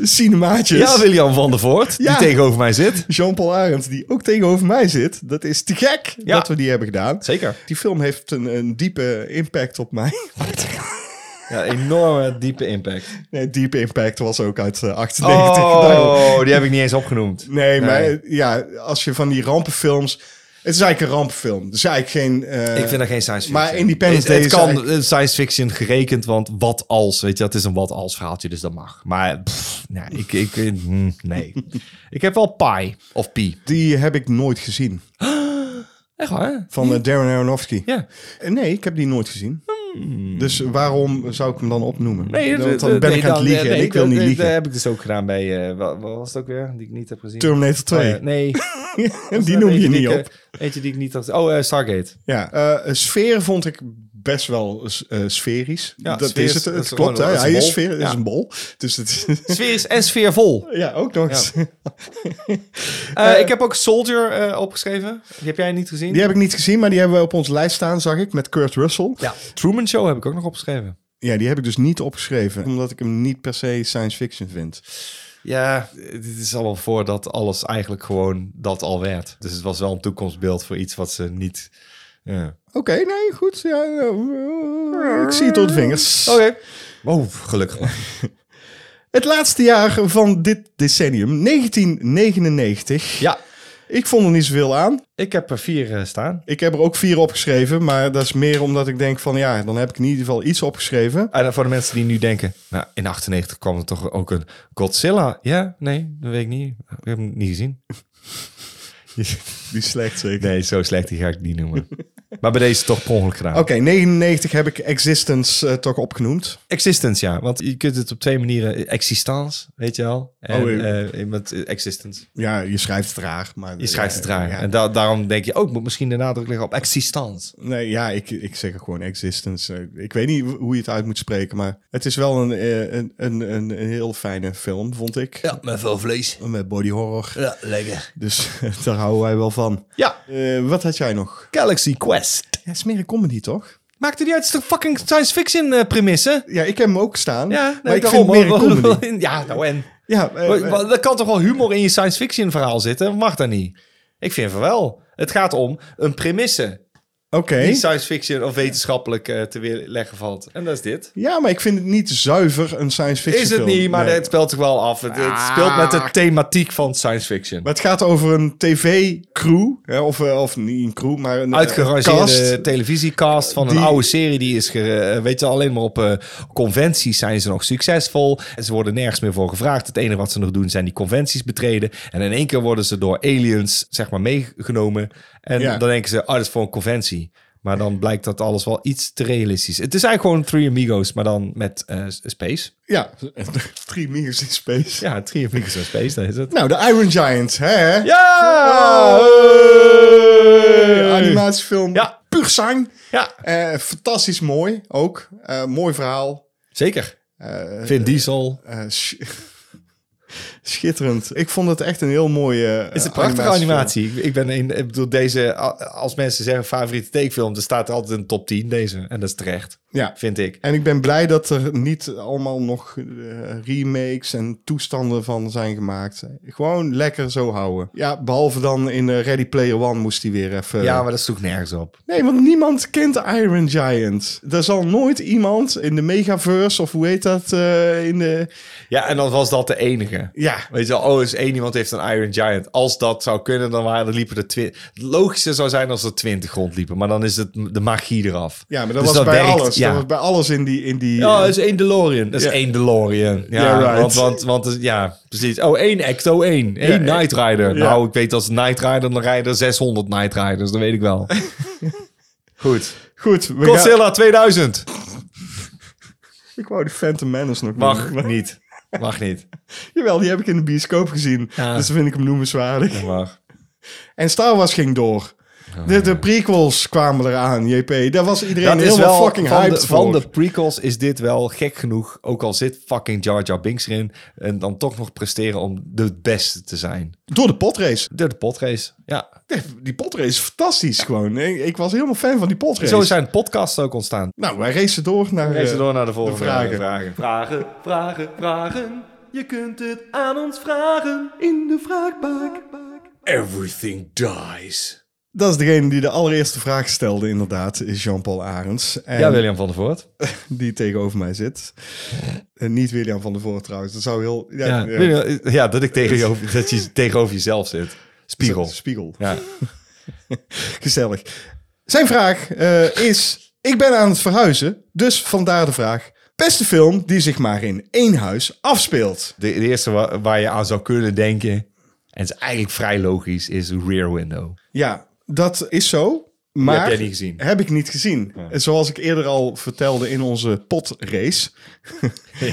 cinemaatjes.
Ja, William van der Voort,
Ja.
die tegenover mij zit.
Jean-Paul Arendt, die ook tegenover mij zit. Dat is te gek
Ja.
dat we die hebben gedaan.
Zeker.
Die film heeft een, een diepe impact op mij.
Ja, enorme diepe impact.
Nee, diepe impact was ook uit eh, 98. Daarom.
Oh, die heb ik niet eens opgenoemd.
Nee, maar
Nee.
eh, ja, als je van die rampenfilms... Het is eigenlijk een rampenfilm. Dus eigenlijk geen... eh,
Ik vind dat geen science
Maar
fiction.
Independence
het, het
Day is
kan eh, science fiction gerekend, want wat als, weet je, dat is een wat als verhaaltje, dus dat mag. Maar pff, nee, ik, ik, eh, mm, nee. ik heb wel Pi of Pi.
Die heb ik nooit gezien.
Echt waar?
Van eh, Darren Aronofsky.
Hm. Ja. Hmm.
Eh, Nee, ik heb die nooit gezien. Dus waarom zou ik hem dan opnoemen?
Nee,
dan,
dat-
dan ben
nee,
ik aan het
dan-
liegen
nee,
en ik wil
dat-
niet
dat-
liegen.
Dat heb ik dus ook gedaan bij, eh, wa- wat was het ook weer, die ik niet heb gezien?
Terminator 2.
Oh ja, nee.
die noem je
Eentje
niet
die ik,
op.
eh, Eentje die ik niet had. Oh, eh, Stargate.
Ja, eh, sfeer vond ik best wel eh, sferisch.
Ja,
dat
sfeer
is
is-
het.
dat
Het
is
klopt.
gewoon- dat
hè.
is
Hij
een
is
bol.
sfeer, het is
Ja.
een bol. Dus het is,
Sfeer is en sfeervol.
ja, ook nog eens.
Eh, ik heb ook Soldier eh, opgeschreven. Die heb jij niet gezien?
Die heb ik niet gezien, maar die hebben we op onze lijst staan, zag ik, met Kurt Russell.
Ja. Truman Show heb ik ook nog opgeschreven.
Ja, die heb ik dus niet opgeschreven, omdat ik hem niet per se science fiction vind.
Ja, dit is allemaal voordat alles eigenlijk gewoon dat al werd. Dus het was wel een toekomstbeeld voor iets wat ze niet... eh, Ja.
Oké, nee, goed. Ja, eh, ik zie het door de vingers.
Oké. Oh, gelukkig maar.
Het laatste jaar van dit decennium, 1999.
Ja,
Ik vond er niet zoveel aan.
ik heb er vier eh, staan.
Ik heb er ook vier opgeschreven, maar dat is meer omdat ik denk van ja, dan heb ik in ieder geval iets opgeschreven.
En Ah, voor de mensen die nu denken, nou, in 98 kwam er toch ook een Godzilla. Ja, nee, dat weet ik niet. Ik heb hem niet gezien.
Die is slecht zeker.
Nee, zo slecht die ga ik niet noemen. Maar bij deze toch per ongeluk gedaan.
Oké, 99 heb ik Existence eh, toch opgenoemd.
Existence, ja. Want je kunt het op twee manieren. Existence, weet je wel. En,
Oh,
eh met eh, existence.
Ja, je schrijft het raar, maar... eh,
Je schrijft het raar.
Ja,
En da- daarom denk je ook, moet misschien de nadruk leggen op existence.
nee, ja ik, ik zeg er gewoon Existence. Eh, Ik weet niet hoe je het uit moet spreken, maar het is wel een, eh, een, een, een, een heel fijne film, vond ik.
Ja, met veel vlees.
Met body horror.
Ja, lekker.
Dus daar houden wij wel van.
Ja,
Eh, wat had jij nog?
Galaxy Quest.
Ja, het is meer een comedy, toch?
Maakt het niet uit, het is toch fucking science fiction eh premisse?
Ja, ik heb hem ook staan.
Ja,
maar
nee,
ik vind
daarom,
het meer een
hoor.
comedy.
Ja, nou en.
Ja, eh,
Maar- maar Er kan toch wel humor in je science fiction verhaal zitten? Mag dat niet? Ik vind van wel. Het gaat om een premisse.
Oké.
die science fiction of wetenschappelijk eh, te weerleggen valt. En dat is dit.
Ja, maar ik vind het niet zuiver een science fiction
Is het
film.
niet, maar
Nee.
het speelt zich wel af. Het, het speelt met de thematiek van science fiction.
Maar het gaat over een tv-crew. hè, Of, eh, of niet een crew, maar een eh,
uitgerangeerde
cast.
televisiecast van
Die-
een oude serie. Die is, ge- eh, weet je, alleen maar op eh, conventies zijn ze nog succesvol. En ze worden nergens meer voor gevraagd. Het enige wat ze nog doen zijn die conventies betreden. En in één keer worden ze door aliens, zeg maar, meegenomen. En
Ja.
dan denken ze, oh, dat is voor een conventie. Maar dan blijkt dat alles wel iets te realistisch. Het is eigenlijk gewoon Three Amigos, maar dan met eh, space.
Ja, Three Meters in Space.
Ja, Three Amigos en space, dat is het.
Nou, de Iron Giant, hè?
Ja!
Eh, Animatiefilm.
Ja.
Puur zang.
Ja,
Eh, fantastisch mooi, ook. Eh, mooi verhaal.
zeker.
Eh,
Vin Diesel.
eh, sch- Schitterend. Ik vond het echt een heel mooie eh,
Het is een prachtige
animatiefilm.
animatie. Ik, ik ben een, ik bedoel, deze, a- als mensen zeggen favoriete tekenfilm, dan staat er altijd in de top 10 deze. En dat is terecht,
Ja.
vind ik.
En ik ben blij dat er niet allemaal nog eh, remakes en toestanden van zijn gemaakt. Gewoon lekker zo houden. Ja, behalve dan in eh, Ready Player One moest hij weer even...
Ja, maar dat sloeg nergens op.
Nee, want niemand kent Iron Giant. Er zal nooit iemand in de Megaverse of hoe heet dat eh, in de...
Ja, en dan was dat de enige.
Ja,
Weet je wel, oh, is één iemand heeft een Iron Giant. Als dat zou kunnen, dan waren er liepen er twintig. Het logische zou zijn als er twintig rondliepen, maar dan is het de magie eraf.
ja maar dat
Dus
was bij
werkt,
alles.
Ja.
Dat was bij alles in die... In die eh,
Ja, dus dat is één DeLorean. Dat is
Ja.
één DeLorean. Ja,
Ja, right.
want, want, want ja, precies. Oh, één Ecto 1. Eén
Ja,
Night Rider.
ja.
Nou, ik weet als Night Rider, dan rijden er 600 Night Riders. Dat weet ik wel. Goed.
Goed, we gaan...
Godzilla 2000.
Ik wou de Phantom Menace nog
Mag
noemen.
niet. Mag niet.
Jawel, die heb ik in de bioscoop gezien.
Ja.
Dus dan vind ik hem noemenswaardig.
Dat Mag.
En Star Wars ging door. De, de prequels kwamen eraan, JP. Daar was iedereen
Oh, Dat is
helemaal
wel
fucking
van, de,
hyped
van
voor.
de prequels is dit wel gek genoeg. Ook al zit fucking Jar Jar Binks erin. En dan toch nog presteren om de beste te zijn.
Door de potrace.
Door de potrace. Ja.
Die potrace is fantastisch gewoon. Ik, ik was helemaal fan van die potrace.
Zo zijn podcasts ook ontstaan.
Nou, wij racen door naar...
Lees
eh,
door naar de volgende
de vragen.
vragen.
Vragen, vragen, vragen. Je kunt het aan ons vragen in de vraagbak.
Everything dies.
Dat is degene die de allereerste vraag stelde, inderdaad, is Jean-Paul Arends. En
Ja, William van der Voort.
die tegenover mij zit. En niet William van der Voort trouwens. Dat zou heel... Ja,
Ja,
ja.
William- ja, dat ik tegen je, dat je tegenover jezelf zit. Spiegel.
Spiegel.
Ja.
Gezellig. Zijn vraag eh, is: Ik ben aan het verhuizen, dus vandaar de vraag. Beste film die zich maar in één huis afspeelt.
De, de eerste wa- waar, je aan zou kunnen denken, en het is eigenlijk vrij logisch, is Rear Window.
Ja, dat is zo. Maar
heb jij niet gezien.
Heb ik niet gezien. En Zoals ik eerder al vertelde in onze potrace,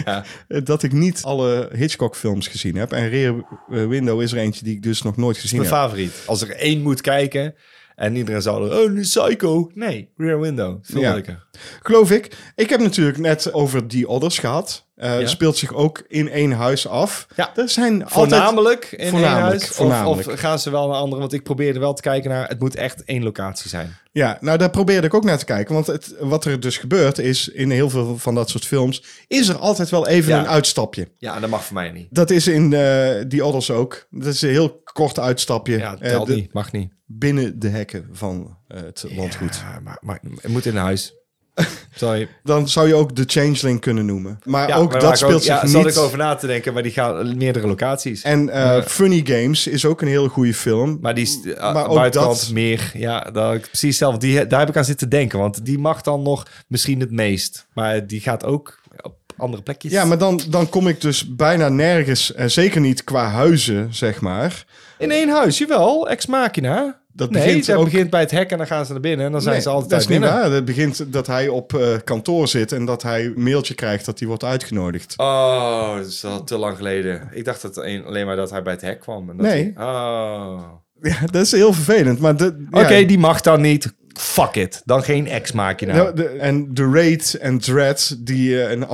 Ja.
dat ik niet alle Hitchcock-films gezien heb. En Rear eh, Window is er eentje die ik dus nog nooit gezien
Mijn
heb.
favoriet. Als er één moet kijken en iedereen zou er, oh, nu Psycho. Nee, Rear Window. Veel
Ja.
leuker.
Geloof ik. Ik heb natuurlijk net over The Others gehad. Eh,
Ja.
Speelt zich ook in één huis af.
Ja.
Er zijn altijd
Voornamelijk in
Voornamelijk,
één huis? Of- Of,
voornamelijk.
gaan ze wel naar andere? Want ik probeerde wel te kijken naar, het moet echt één locatie zijn.
Ja, nou daar probeerde ik ook naar te kijken. Want het, wat er dus gebeurt is, in heel veel van dat soort films, is er altijd wel even
Ja.
een uitstapje.
Ja, dat mag voor mij niet.
Dat is in eh die Others ook. Dat is een heel kort uitstapje
Ja,
eh,
telt
de-
niet. Mag niet.
binnen de hekken van eh, het landgoed.
Ja, maar, maar het moet in huis. Sorry.
Dan zou je ook de Changeling kunnen noemen. Maar
Ja,
ook
maar waar
dat
ik
speelt
ja,
zich
zat
niet.
ik over na te denken, maar die gaan meerdere locaties.
En eh, Funny Games is ook een hele goede film.
maar die is eh,
maar ook
buitenkant
dat-
meer. Ja, dat, had ik precies hetzelfde. Die, daar heb ik aan zitten denken, want die mag dan nog misschien het meest. Maar die gaat ook op andere plekjes.
ja, maar dan, dan kom ik dus bijna nergens, en zeker niet qua huizen, zeg maar.
In één huis, jawel. Ex Machina.
Dat
nee,
begint
dat
ook-
begint bij het hek en dan gaan ze naar binnen en dan zijn
Nee,
ze altijd
dat is niet
binnen.
waar. Het begint dat hij op eh, kantoor zit en dat hij een mailtje krijgt dat hij wordt uitgenodigd.
Oh, dat is al te lang geleden. Ik dacht dat een- alleen maar dat hij bij het hek kwam. en dat
Nee.
hij- oh.
Ja, dat is heel vervelend. Maar de,
Oké,
ja,
die mag dan niet. Fuck it. Dan geen ex Machina.
de- de- en de Raid en Dread, die eh, een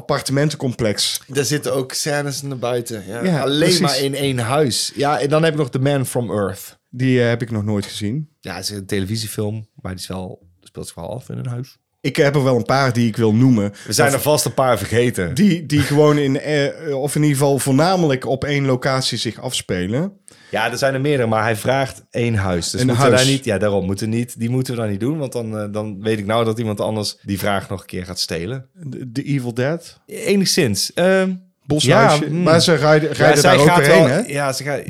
appartementencomplex.
Er zitten ook scènes naar buiten. Ja.
Ja,
Alleen
precies.
maar in één huis. Ja, en dan heb ik nog The Man from Earth.
Die eh, heb ik nog nooit gezien.
Ja, het is een televisiefilm, maar die is wel, speelt zich wel af in een huis.
Ik heb er wel een paar die ik wil noemen.
We zijn er vast een paar vergeten.
Die, die gewoon in, eh, of in ieder geval voornamelijk op één locatie zich afspelen.
Ja, er zijn er meerdere, maar hij vraagt één huis. Dus
Een
moeten we
huis.
daar niet... Ja, daarom moeten we niet... Die moeten we dan niet doen, want dan, eh, dan weet ik nou dat iemand anders die vraag nog een keer gaat stelen.
De, de Evil Dead,
Enigszins. Ehm,
Boshuisje. Hmm.
Ja, mm.
Maar ze rijden,
ja,
rijden
zij
daar ook
gaat
doorheen,
wel-
hè?
Ja, ze gaat...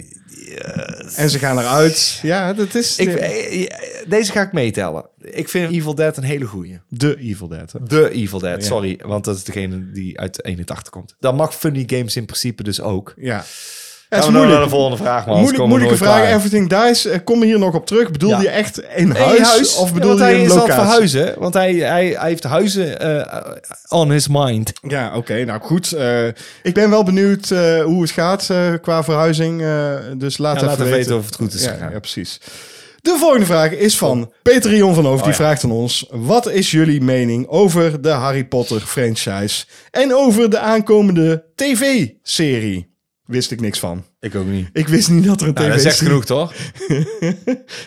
En ze gaan eruit. Ja, dat is
Ik,
de,
eh, eh, deze ga ik meetellen. Ik vind Evil Dead een hele goeie.
de Evil Dead. hè.
De Evil Dead,
Ja.
sorry. Want dat is degene die uit 81 komt. Dat mag Funny Games in principe dus ook.
Ja. Het
Gaan
is
we nou
moeilijk.
naar de volgende vraag, man.
Moeilijk, moeilijke vraag.
even.
Everything Dies. Eh, Kom hier nog op terug. Bedoel
Ja.
je echt een
Eén
huis, Of bedoel
want
je
hij
een
is
locatie?
aan het verhuizen. Want hij, hij, hij heeft huizen eh, on his mind.
Ja, oké. nou goed. eh, ik ben wel benieuwd eh, hoe het gaat eh, qua verhuizing. eh, dus laat
Ja, laat even
even weten.
weten of het goed is
ja,
gegaan.
Ja, precies. De volgende vraag is
Oh.
van Peter Ion van Hoofd. die vraagt aan ons... Wat is jullie mening over de Harry Potter franchise... en over de aankomende tv-serie? Wist ik niks van.
Ik ook niet.
Ik wist niet dat er een
Nou,
tv-serie...
dat zegt genoeg, toch?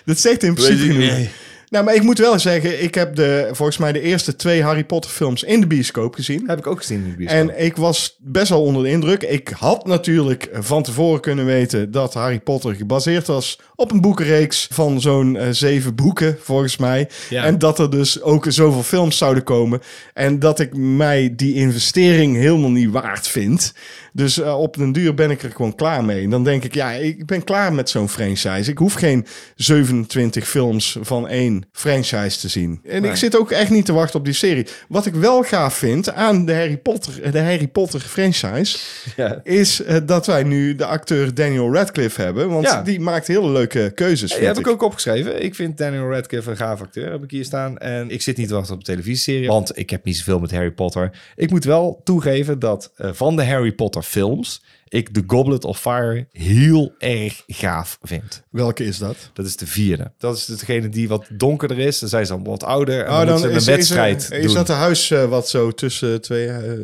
Dat zegt in
Weet
principe
ik niet.
genoeg. Nou, maar ik moet wel zeggen... ik heb de, volgens mij de eerste twee Harry Potter films in de bioscoop gezien.
heb ik ook gezien in de bioscoop.
En ik was best wel onder de indruk. Ik had natuurlijk van tevoren kunnen weten dat Harry Potter gebaseerd was op een boekenreeks van zo'n eh, zeven boeken, volgens mij.
Ja.
En dat er dus ook zoveel films zouden komen. En dat ik mij die investering helemaal niet waard vind. Dus eh, op den duur ben ik er gewoon klaar mee. En dan denk ik, ja, ik ben klaar met zo'n franchise. Ik hoef geen 27 films van één franchise te zien. En ik
Nee.
zit zit ook echt niet te wachten op die serie. Wat ik wel gaaf vind aan de Harry Potter, de Harry Potter franchise,
Ja.
is eh, dat wij nu de acteur Daniel Radcliffe hebben. Want
Ja.
die maakt hele leuke keuzes.
Ja,
vind
heb ik
ik.
ook opgeschreven. Ik vind Daniel Radcliffe een gaaf acteur, heb ik hier staan. En ik zit niet te wachten op een televisieserie, want ik heb niet zoveel met Harry Potter. Ik moet wel toegeven dat eh, van de Harry Potter films... ik The Goblet of Fire heel erg gaaf vind.
Welke is dat?
Dat is de vierde. Dat is degene die wat donkerder is. Dan zijn ze al wat ouder. En dan, moeten ze
Oh, is,
een
is er-
wedstrijd
is,
doen.
dat een huis eh, wat zo tussen twee... eh, eh,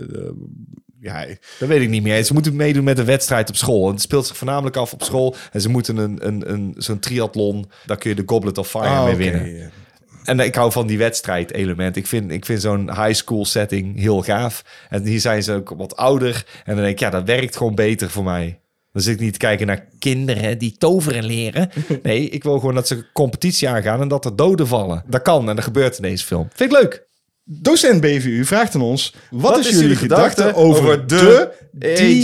ja,
Dat weet ik niet meer. Ze moeten meedoen met een wedstrijd op school. En het speelt zich voornamelijk af op school. En ze moeten een, een, een, zo'n triathlon. Daar kun je de Goblet of Fire
Ah,
mee
oké,
winnen.
ja.
En ik hou van die wedstrijdelement. Ik vind, ik vind zo'n high school setting heel gaaf. En hier zijn ze ook wat ouder. En dan denk ik, ja, dat werkt gewoon beter voor mij. Dan zit ik niet te kijken naar kinderen die toveren leren. Nee, ik wil gewoon dat ze een competitie aangaan en dat er doden vallen. Dat kan en dat gebeurt in deze film. Vind ik leuk.
Docent BVU vraagt aan ons... Wat, is, jullie gedachte over, de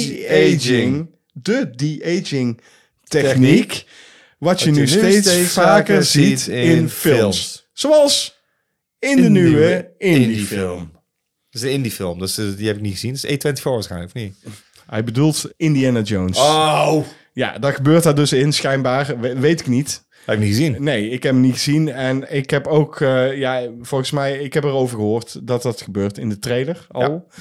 de-aging... De de-aging techniek... Wat je
Wat
nu steeds, vaker ziet in films. Zoals in de nieuwe indiefilm.
Dat is een indiefilm, dus eh, die heb ik niet gezien. Dat is E24 waarschijnlijk, of niet?
Hij bedoelt Indiana Jones.
Oh!
Ja, dat gebeurt daar dus in, schijnbaar. We- weet ik niet.
Heb ik niet gezien.
Nee, ik heb hem niet gezien. En ik heb ook, eh, ja, volgens mij, ik heb erover gehoord dat dat gebeurt in de trailer al.
Oh.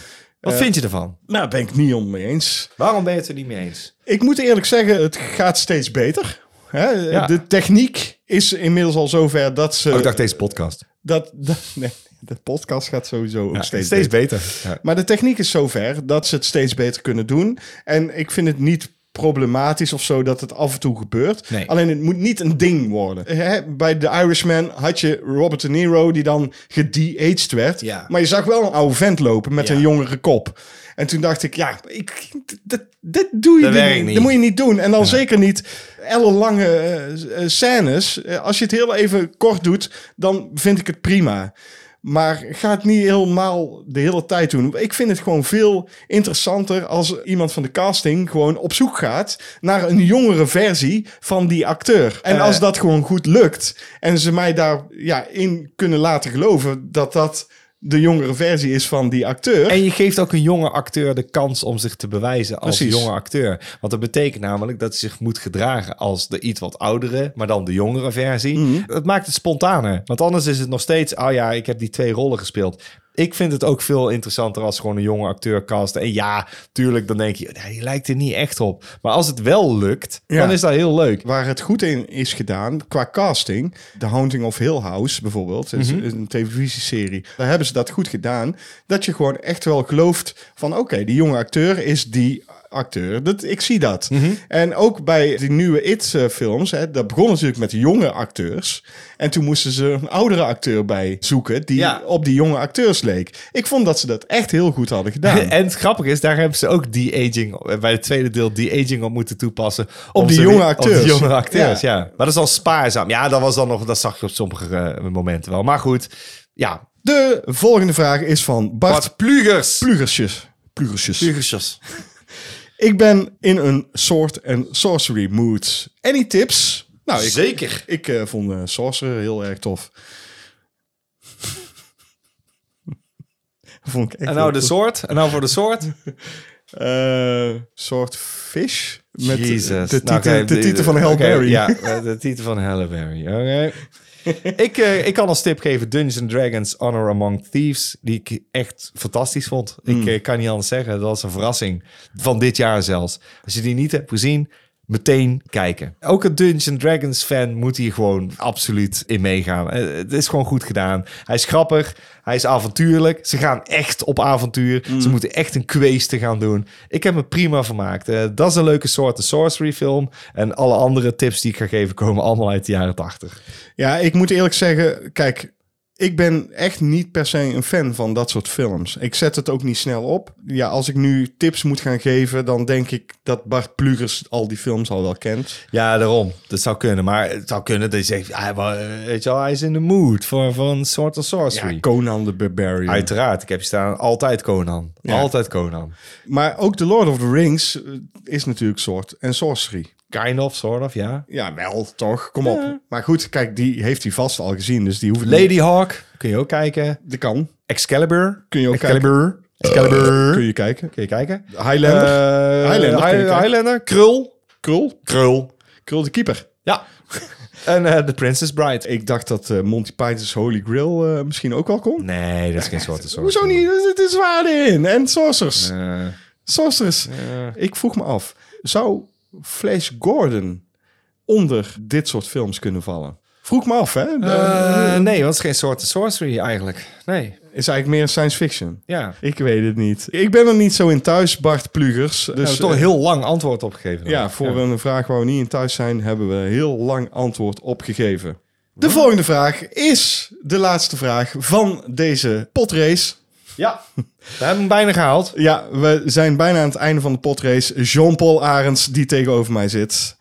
Wat
Eh,
vind je ervan?
Nou, daar ben ik niet om mee eens.
Waarom ben je het er niet mee eens?
Ik moet eerlijk zeggen, het gaat steeds beter. Hè?
Ja.
De techniek is inmiddels al zover dat ze...
Oh, ik dacht deze podcast.
dat, dat, nee, de podcast gaat sowieso ook steeds, beter.
beter. Ja.
Maar de techniek is zover dat ze het steeds beter kunnen doen. En ik vind het niet problematisch of zo dat het af en toe gebeurt.
Nee.
Alleen het moet niet een ding worden. Hè, bij The Irishman had je Robert De Niro die dan gede-aged werd.
Ja.
Maar je zag wel een oude vent lopen met
Ja.
een jongere kop. En toen dacht ik, ja, ik, dat, dat doe je
Dat
niet.
werkt niet.
Dat moet je niet doen. En dan zeker niet ellenlange eh, eh, scènes. Eh, als je het heel even kort doet, dan vind ik het prima. Maar ga het niet helemaal de hele tijd doen. Ik vind het gewoon veel interessanter als iemand van de casting gewoon op zoek gaat naar een jongere versie van die acteur. En als dat gewoon goed lukt en ze mij daarin ja, in kunnen laten geloven dat dat de jongere versie is van die acteur.
En je geeft ook een jonge acteur de kans om zich te bewijzen als
Precies.
jonge acteur. Want dat betekent namelijk dat hij zich moet gedragen als de iets wat oudere, maar dan de jongere versie.
Mhm.
Dat maakt het spontaner. Want anders is het nog steeds, oh ja, ik heb die twee rollen gespeeld. Ik vind het ook veel interessanter als gewoon een jonge acteur cast. En ja, tuurlijk, dan denk je, nee, die lijkt er niet echt op. Maar als het wel lukt,
Ja.
dan is dat heel leuk.
Waar het goed in is gedaan qua casting, The Haunting of Hill House bijvoorbeeld, is
Mhm.
een televisieserie. Daar hebben ze dat goed gedaan. Dat je gewoon echt wel gelooft van oké, die jonge acteur is die acteur. Dat, ik zie dat.
Mhm.
En ook bij die nieuwe It-films, hè, dat begon natuurlijk met jonge acteurs. En toen moesten ze een oudere acteur bij zoeken die
Ja.
op die jonge acteurs leek. Ik vond dat ze dat echt heel goed hadden gedaan.
En het grappige is, daar hebben ze ook de-aging, eh, bij het tweede deel, de-aging op moeten toepassen. om
die
ze-
jonge
Op
acteurs.
die jonge acteurs,
Ja.
ja. Maar dat is dan spaarzaam. Ja, dat was dan nog, dat zag je op sommige eh, momenten wel. Maar goed, ja.
De volgende vraag is van Bart
Wat plugers.
Plugersjes. Plugersjes.
Plugersjes.
Ik ben in een soort en sorcery mood. Any tips? Nou, ik,
Zeker.
ik eh, vond eh, sorcerer heel erg tof. vond ik echt
En nou
heel
de
tof.
soort. En nou voor de soort.
Eh, soort fish. Met de-
Jezus.
de,
Nou,
titel,
oké,
de
die-
titel van
oké,
Hail Mary.
Ja, eh, de titel van Hail Mary. Oké. ik, eh, ik kan als tip geven Dungeons and Dragons Honor Among Thieves. Die ik echt fantastisch vond. Ik eh, kan niet anders zeggen. Dat was een verrassing. Van dit jaar zelfs. Als je die niet hebt gezien... Meteen kijken. Ook een Dungeons and Dragons fan moet hier gewoon absoluut in meegaan. Eh, Het is gewoon goed gedaan. Hij is grappig. Hij is avontuurlijk. Ze gaan echt op avontuur. Ze moeten echt een quest gaan doen. Ik heb me prima vermaakt. Eh, dat is een leuke soort een sorcery film. En alle andere tips die ik ga geven komen allemaal uit de jaren 80.
Ja, ik moet eerlijk zeggen, kijk, ik ben echt niet per se een fan van dat soort films. Ik zet het ook niet snel op. Ja, als ik nu tips moet gaan geven, dan denk ik dat Bart Plugers al die films al wel kent.
Ja, daarom. Dat zou kunnen. Maar het zou kunnen dat je zegt, hij, wa- eh, weet je wel, hij is in de mood voor, voor een soort of sorcery.
Ja, Conan the Barbarian.
Uiteraard, ik heb je staan. Altijd Conan.
Ja.
Altijd Conan.
Maar ook The Lord of the Rings eh, is natuurlijk soort en sorcery.
Kind of, sort of, ja.
Ja, wel, toch? Kom op. Maar goed, kijk, die heeft hij vast al gezien, dus die hoeft
Lady Hawk, kun je ook kijken.
De kan.
Excalibur,
Kun je ook Eh,
Excalibur. Excalibur.
Kun je kijken.
Kun je kijken?
Highlander.
Eh,
Highlander, kun je
Hi-
kijken.
Highlander. Krul.
Krul.
Krul.
Krul de keeper.
Ja. en eh The Princess Bride.
Ik dacht dat eh, Monty Python's Holy Grail eh, misschien ook wel kon.
Nee, dat is geen soort of sorcery.
Hoezo niet? Er zitten zwaarden in. En sorcerers.
Eh,
Sorcerers. Ik vroeg me af. Zou Flash Gordon onder dit soort films kunnen vallen? Vroeg me af, hè? De-
eh, nee, want het is geen soort of sorcery eigenlijk. Nee,
Is eigenlijk meer science fiction.
ja.
Ik weet het niet. Ik ben er niet zo in thuis, Bart Plugers.
We
Dus
hebben toch een
eh,
heel lang antwoord opgegeven.
ja, voor een vraag waar we niet in thuis zijn, hebben we heel lang antwoord opgegeven. De volgende vraag is de laatste vraag van deze potrace.
Ja, we hebben hem bijna gehaald.
Ja, we zijn bijna aan het einde van de potrace. Jean-Paul Arends, die tegenover mij zit.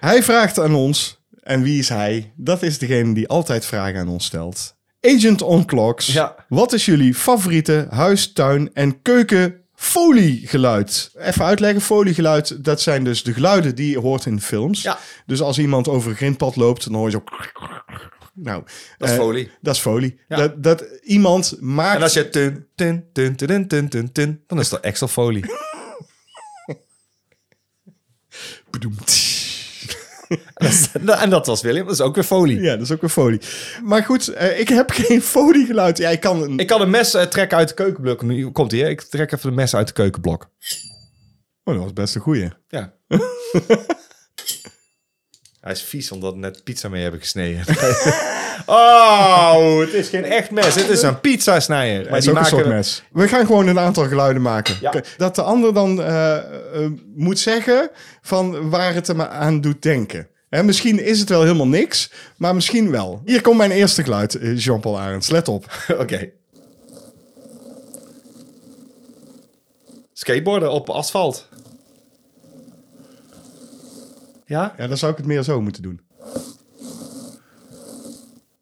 Hij vraagt aan ons, en wie is hij? Dat is degene die altijd vragen aan ons stelt. Agent on Clocks,
Ja.
wat is jullie favoriete huis, tuin en keuken foliegeluid? Even uitleggen, foliegeluid, dat zijn dus de geluiden die je hoort in films.
Ja.
Dus als iemand over een grindpad loopt, dan hoor je zo... Nou,
Dat is
eh,
folie.
Dat is folie.
Ja.
Dat, dat iemand maakt...
En als je tun, tun, tun, tun, tun, tun, tun, tun, dan is dat extra folie. Dat is- en dat was William, dat is ook weer folie.
Ja, dat is ook weer folie. Maar goed, eh, ik heb geen foliegeluid. Ja, ik kan... Een...
Ik kan een mes eh, trekken uit de keukenblok. Nu komt hij, ik trek even de mes uit de keukenblok.
Oh, dat was best een goeie.
Ja. Hij is vies omdat we net pizza mee hebben gesneden. oh, het is geen echt mes. Het is een pizza snijder.
Maar
Maar
is
die
ook een soort
maken we-
mes. We gaan gewoon een aantal geluiden maken.
Ja.
Dat de ander dan eh, eh, moet zeggen van waar het hem aan doet denken. Hè, misschien is het wel helemaal niks, maar misschien wel. Hier komt mijn eerste geluid, eh, Jean-Paul Arends. Let op.
Oké. Skateboarden op asfalt. Ja?
Ja, dan zou ik het meer zo moeten doen.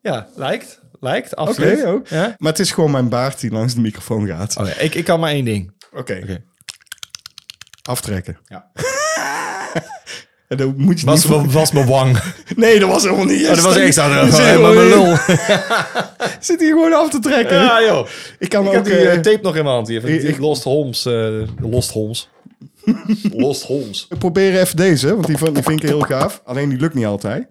Ja, lijkt. Lijkt,
Oké,
absoluut.
ook.
Ja?
Maar het is gewoon mijn baard die langs de microfoon gaat. Oké.
Oké, ik, ik kan maar één ding. Oké.
Aftrekken.
Ja.
En dan moet je niet...
was mijn wang. Oh,
Nee, dat was helemaal niet.
dat was echt aan
Je zit
de
gewoon-
mijn lul.
Zit hier gewoon af te trekken.
Ja, joh.
Ik kan
Ik
ook
heb die eh,
eh,
tape nog in mijn hand. Die,
ik-
die Lost Holmes. eh, Lost Holmes. Lost Holmes.
proberen even deze, want die, van- die vind ik heel gaaf. Alleen die lukt niet altijd.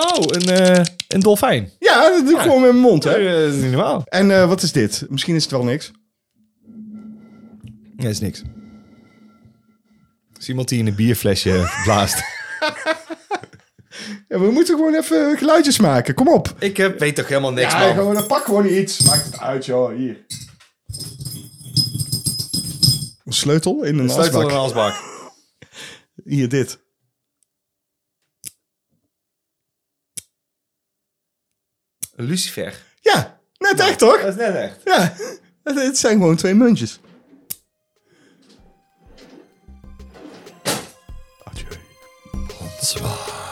Oh, een, eh, een dolfijn.
Ja, dat doe ik gewoon met mijn mond, hè.
Eh, Dat is niet normaal.
En eh, wat is dit? Misschien is het wel niks.
Nee, is niks. is iemand die in een bierflesje blaast.
Ja, we moeten gewoon even geluidjes maken. Kom op.
Ik heb, weet toch helemaal niks,
Ja, gewoon, dan pak gewoon iets. Maakt het uit, joh. Hier. Een sleutel in een
Sleutel in
asbak.
een asbak.
Hier, dit.
Een lucifer.
Ja, net echt toch?
Nou, Dat is net echt.
Ja, het- het zijn gewoon twee muntjes. Adieu.
Zwaar.